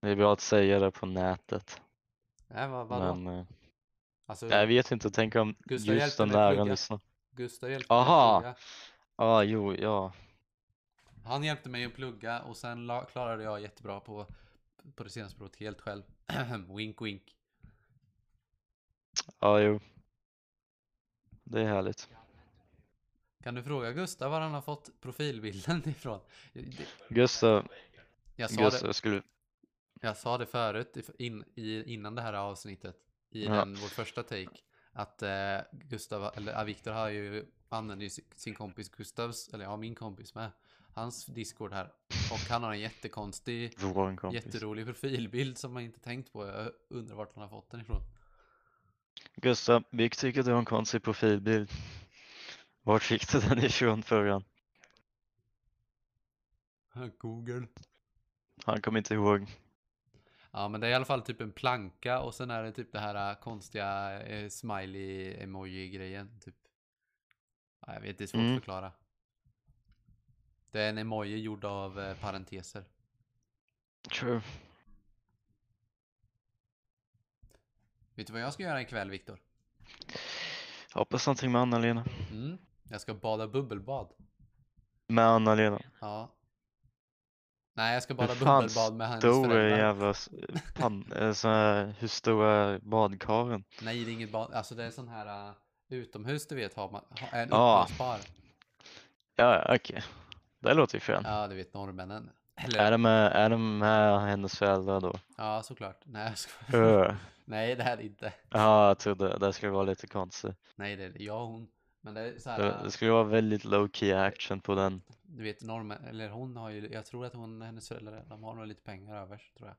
Det är bra att säga det på nätet. Nej, Äh, vad, vadå? Men, eh, alltså, jag vet inte, tänk om Gustav just hjälpte den mig att läraren plugga. lyssnar. Gustav hjälpte Aha! mig att plugga. Ja, jo, ja. Han hjälpte mig att plugga och sen la, klarade jag jättebra på, på det senaste provet helt själv. (clears throat) wink wink. Ja, jo. Det är härligt. Kan du fråga Gustav var han har fått profilbilden (laughs) ifrån? Det- Gustav, Jag sa, det, Gustav skulle... jag sa det förut if- in, i, innan det här avsnittet i Ja. den, vår första take att eh, Gustav, eller ah, Viktor har ju använder ju si- sin kompis Gustavs, eller ja min kompis med, hans discord här och han har en jättekonstig, Vår kompis. jätterolig profilbild som man inte tänkt på. Jag undrar vart han har fått den ifrån. Gustav, vi tycker att du har en konstig profilbild. Vart fick du den ifrån förrän? Google. Han kommer inte ihåg. Ja men det är i alla fall typ en planka och sen är det typ det här eh, konstiga eh, smiley-emoji-grejen typ. Ja, jag vet, det är svårt Mm. att förklara. Det är en emoji gjord av eh, parenteser. True. Vet du vad jag ska göra ikväll Viktor? Hoppas någonting med Anna-Lena. Mm. Jag ska bada bubbelbad. Med Anna-Lena. Ja. Nej jag ska bada fan bubbelbad med hennes Stor är föräldrar. jävla s- pan, eh, sån här, hur stor är badkaren? Nej det är inget bad, alltså det är sån här eh, utomhus du vet har man, ha- en Ja. uppblåsbar. Ja, ja, okej. Det låter ju fränt. Ja du vet norrmännen. Är, Eller de med, är de med hennes föräldrar då? ja såklart. Nej jag skojar. Ö. (laughs) Nej det här är inte. Ja, jag trodde det skulle vara lite konstigt. Nej, det är jag och hon. Men det är så Det, här, äh, det skulle vara väldigt low key action på den. du vet normen, eller hon har ju, jag tror att hon, hennes föräldrar, de har nog lite pengar över, tror jag.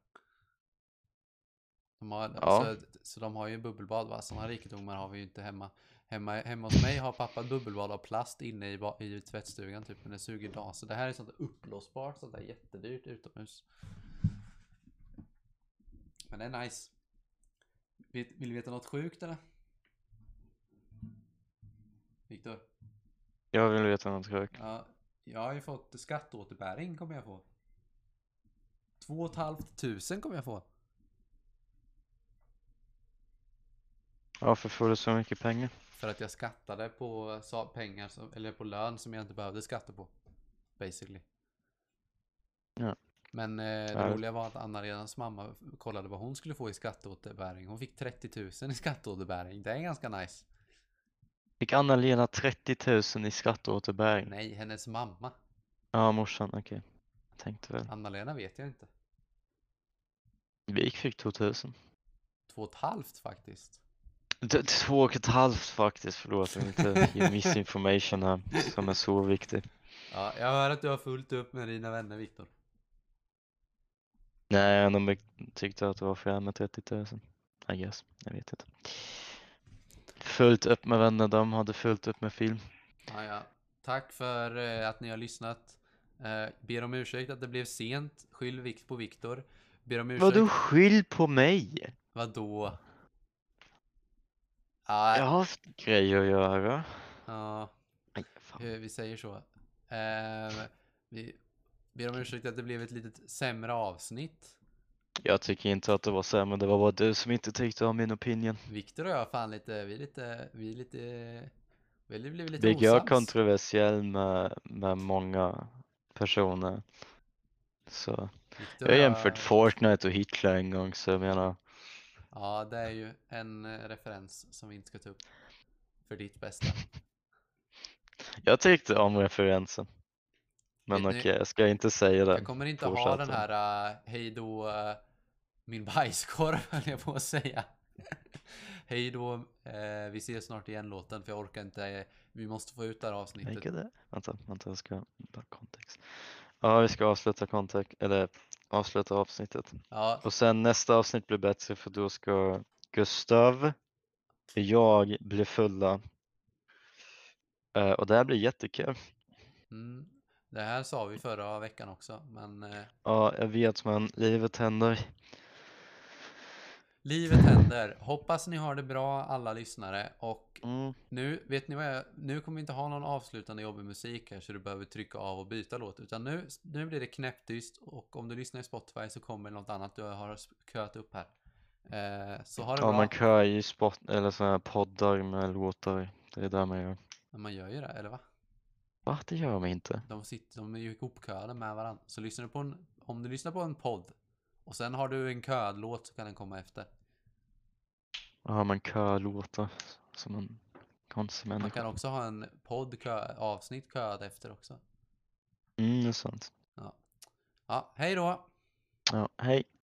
De har, Ja. så, så de har ju bubbelbad va, sådana rikedomar har vi ju inte hemma. Hemma, hemma hos mig har pappa ett bubbelbad av plast inne i, ba- i tvättstugan typ, men det suger idag. Så det här är sånt uppblåsbart, sånt där jättedyrt utomhus. Men det är nice. Vill, vill du veta något sjukt eller? Viktor? Jag vill veta något sjukt. Ja, jag har ju fått skatteåterbäring kommer jag få. Två och ett halvt tusen kommer jag få. Varför får du så mycket pengar? För att jag skattade på sa- pengar, som, eller på lön som jag inte behövde skatta på. Basically. Ja. Men eh, det Härligt. roliga var att Anna-Lenas mamma kollade vad hon skulle få i skatteåterbäring. Hon fick 30 000 i skatteåterbäring. Det är ganska nice. Fick Anna-Lena 30 000 i skatteåterbäring? Nej, hennes mamma. Ja, morsan, okej. Tänkte väl. Anna-Lena vet jag inte. Vi fick 2 000. Två och ett halvt faktiskt. T- Två och ett halvt faktiskt, förlåt om inte (laughs) ger misinformation här som är så viktig. Ja, jag hör att du har fullt upp med dina vänner Viktor. Nej, de be- tyckte att det var för jävla med 30 000. I guess, jag vet inte. Fullt upp med vänner, de hade fullt upp med film. Ja, ja. Tack för eh, att ni har lyssnat. Eh, ber om ursäkt att det blev sent. Skyll vikt på Viktor. Ber om ursäkt. Vadå skyll på mig? Vadå? Ja, Jag har haft grejer att göra. ja, Aj, fan. eh, vi säger så. Eh, vi ber om ursäkt att det blev ett litet sämre avsnitt. Jag tycker inte att det var sämre, det var bara du som inte tyckte om min opinion. Viktor och jag fan lite, vi är lite, vi är lite, vi blev lite Blir jag osams. kontroversiell med, med många personer. Så. Viktor Jag har och jämfört Fortnite och Hitler en gång så jag menar, Ja, det är ju en eh, referens som vi inte ska ta upp. För ditt bästa. jag tyckte om referensen. Men Vet ni- okej, jag ska inte säga Jag det. kommer inte ha fortsätt den då. här uh, hej då eh, min bajskorv (laughs) höll jag på att säga. hej då, eh, vi ses snart igen låten för jag orkar inte. eh, vi måste få ut det här avsnittet. Vilket är? Vänta, vänta, jag ska bara kontext. Ja, vi ska avsluta kontext, eller avsluta avsnittet. Ja, Och sen nästa avsnitt blir bättre för då ska Gustav, jag blir fulla. Eh, och det här blir jättekul. mm, det här sa vi förra veckan också, men eh, Ja, jag vet men livet händer. livet händer. Hoppas ni har det bra alla lyssnare och Mm. Nu, vet ni vad jag, nu kommer vi inte ha någon avslutande jobbig musik här så du behöver trycka av och byta låt. Utan nu, nu blir det knäpptyst och om du lyssnar i Spotify så kommer något annat du har köat upp här. Eh, så ha det Ja, bra. man kör ju spot, eller såna här poddar med låtar. Det är där man gör. Men man gör ju det, eller va? Va? Det gör man inte. De, sitter, de är ju ihopköade med varandra. Så lyssnar du på en, om du lyssnar på en podd och sen har du en köad låt så kan den komma efter. Ja, man kör låtar som en konstig Man människa. kan också ha en podd kö, avsnitt köad efter också. Mm, det är sant. Ja, hej då! Ja, hej.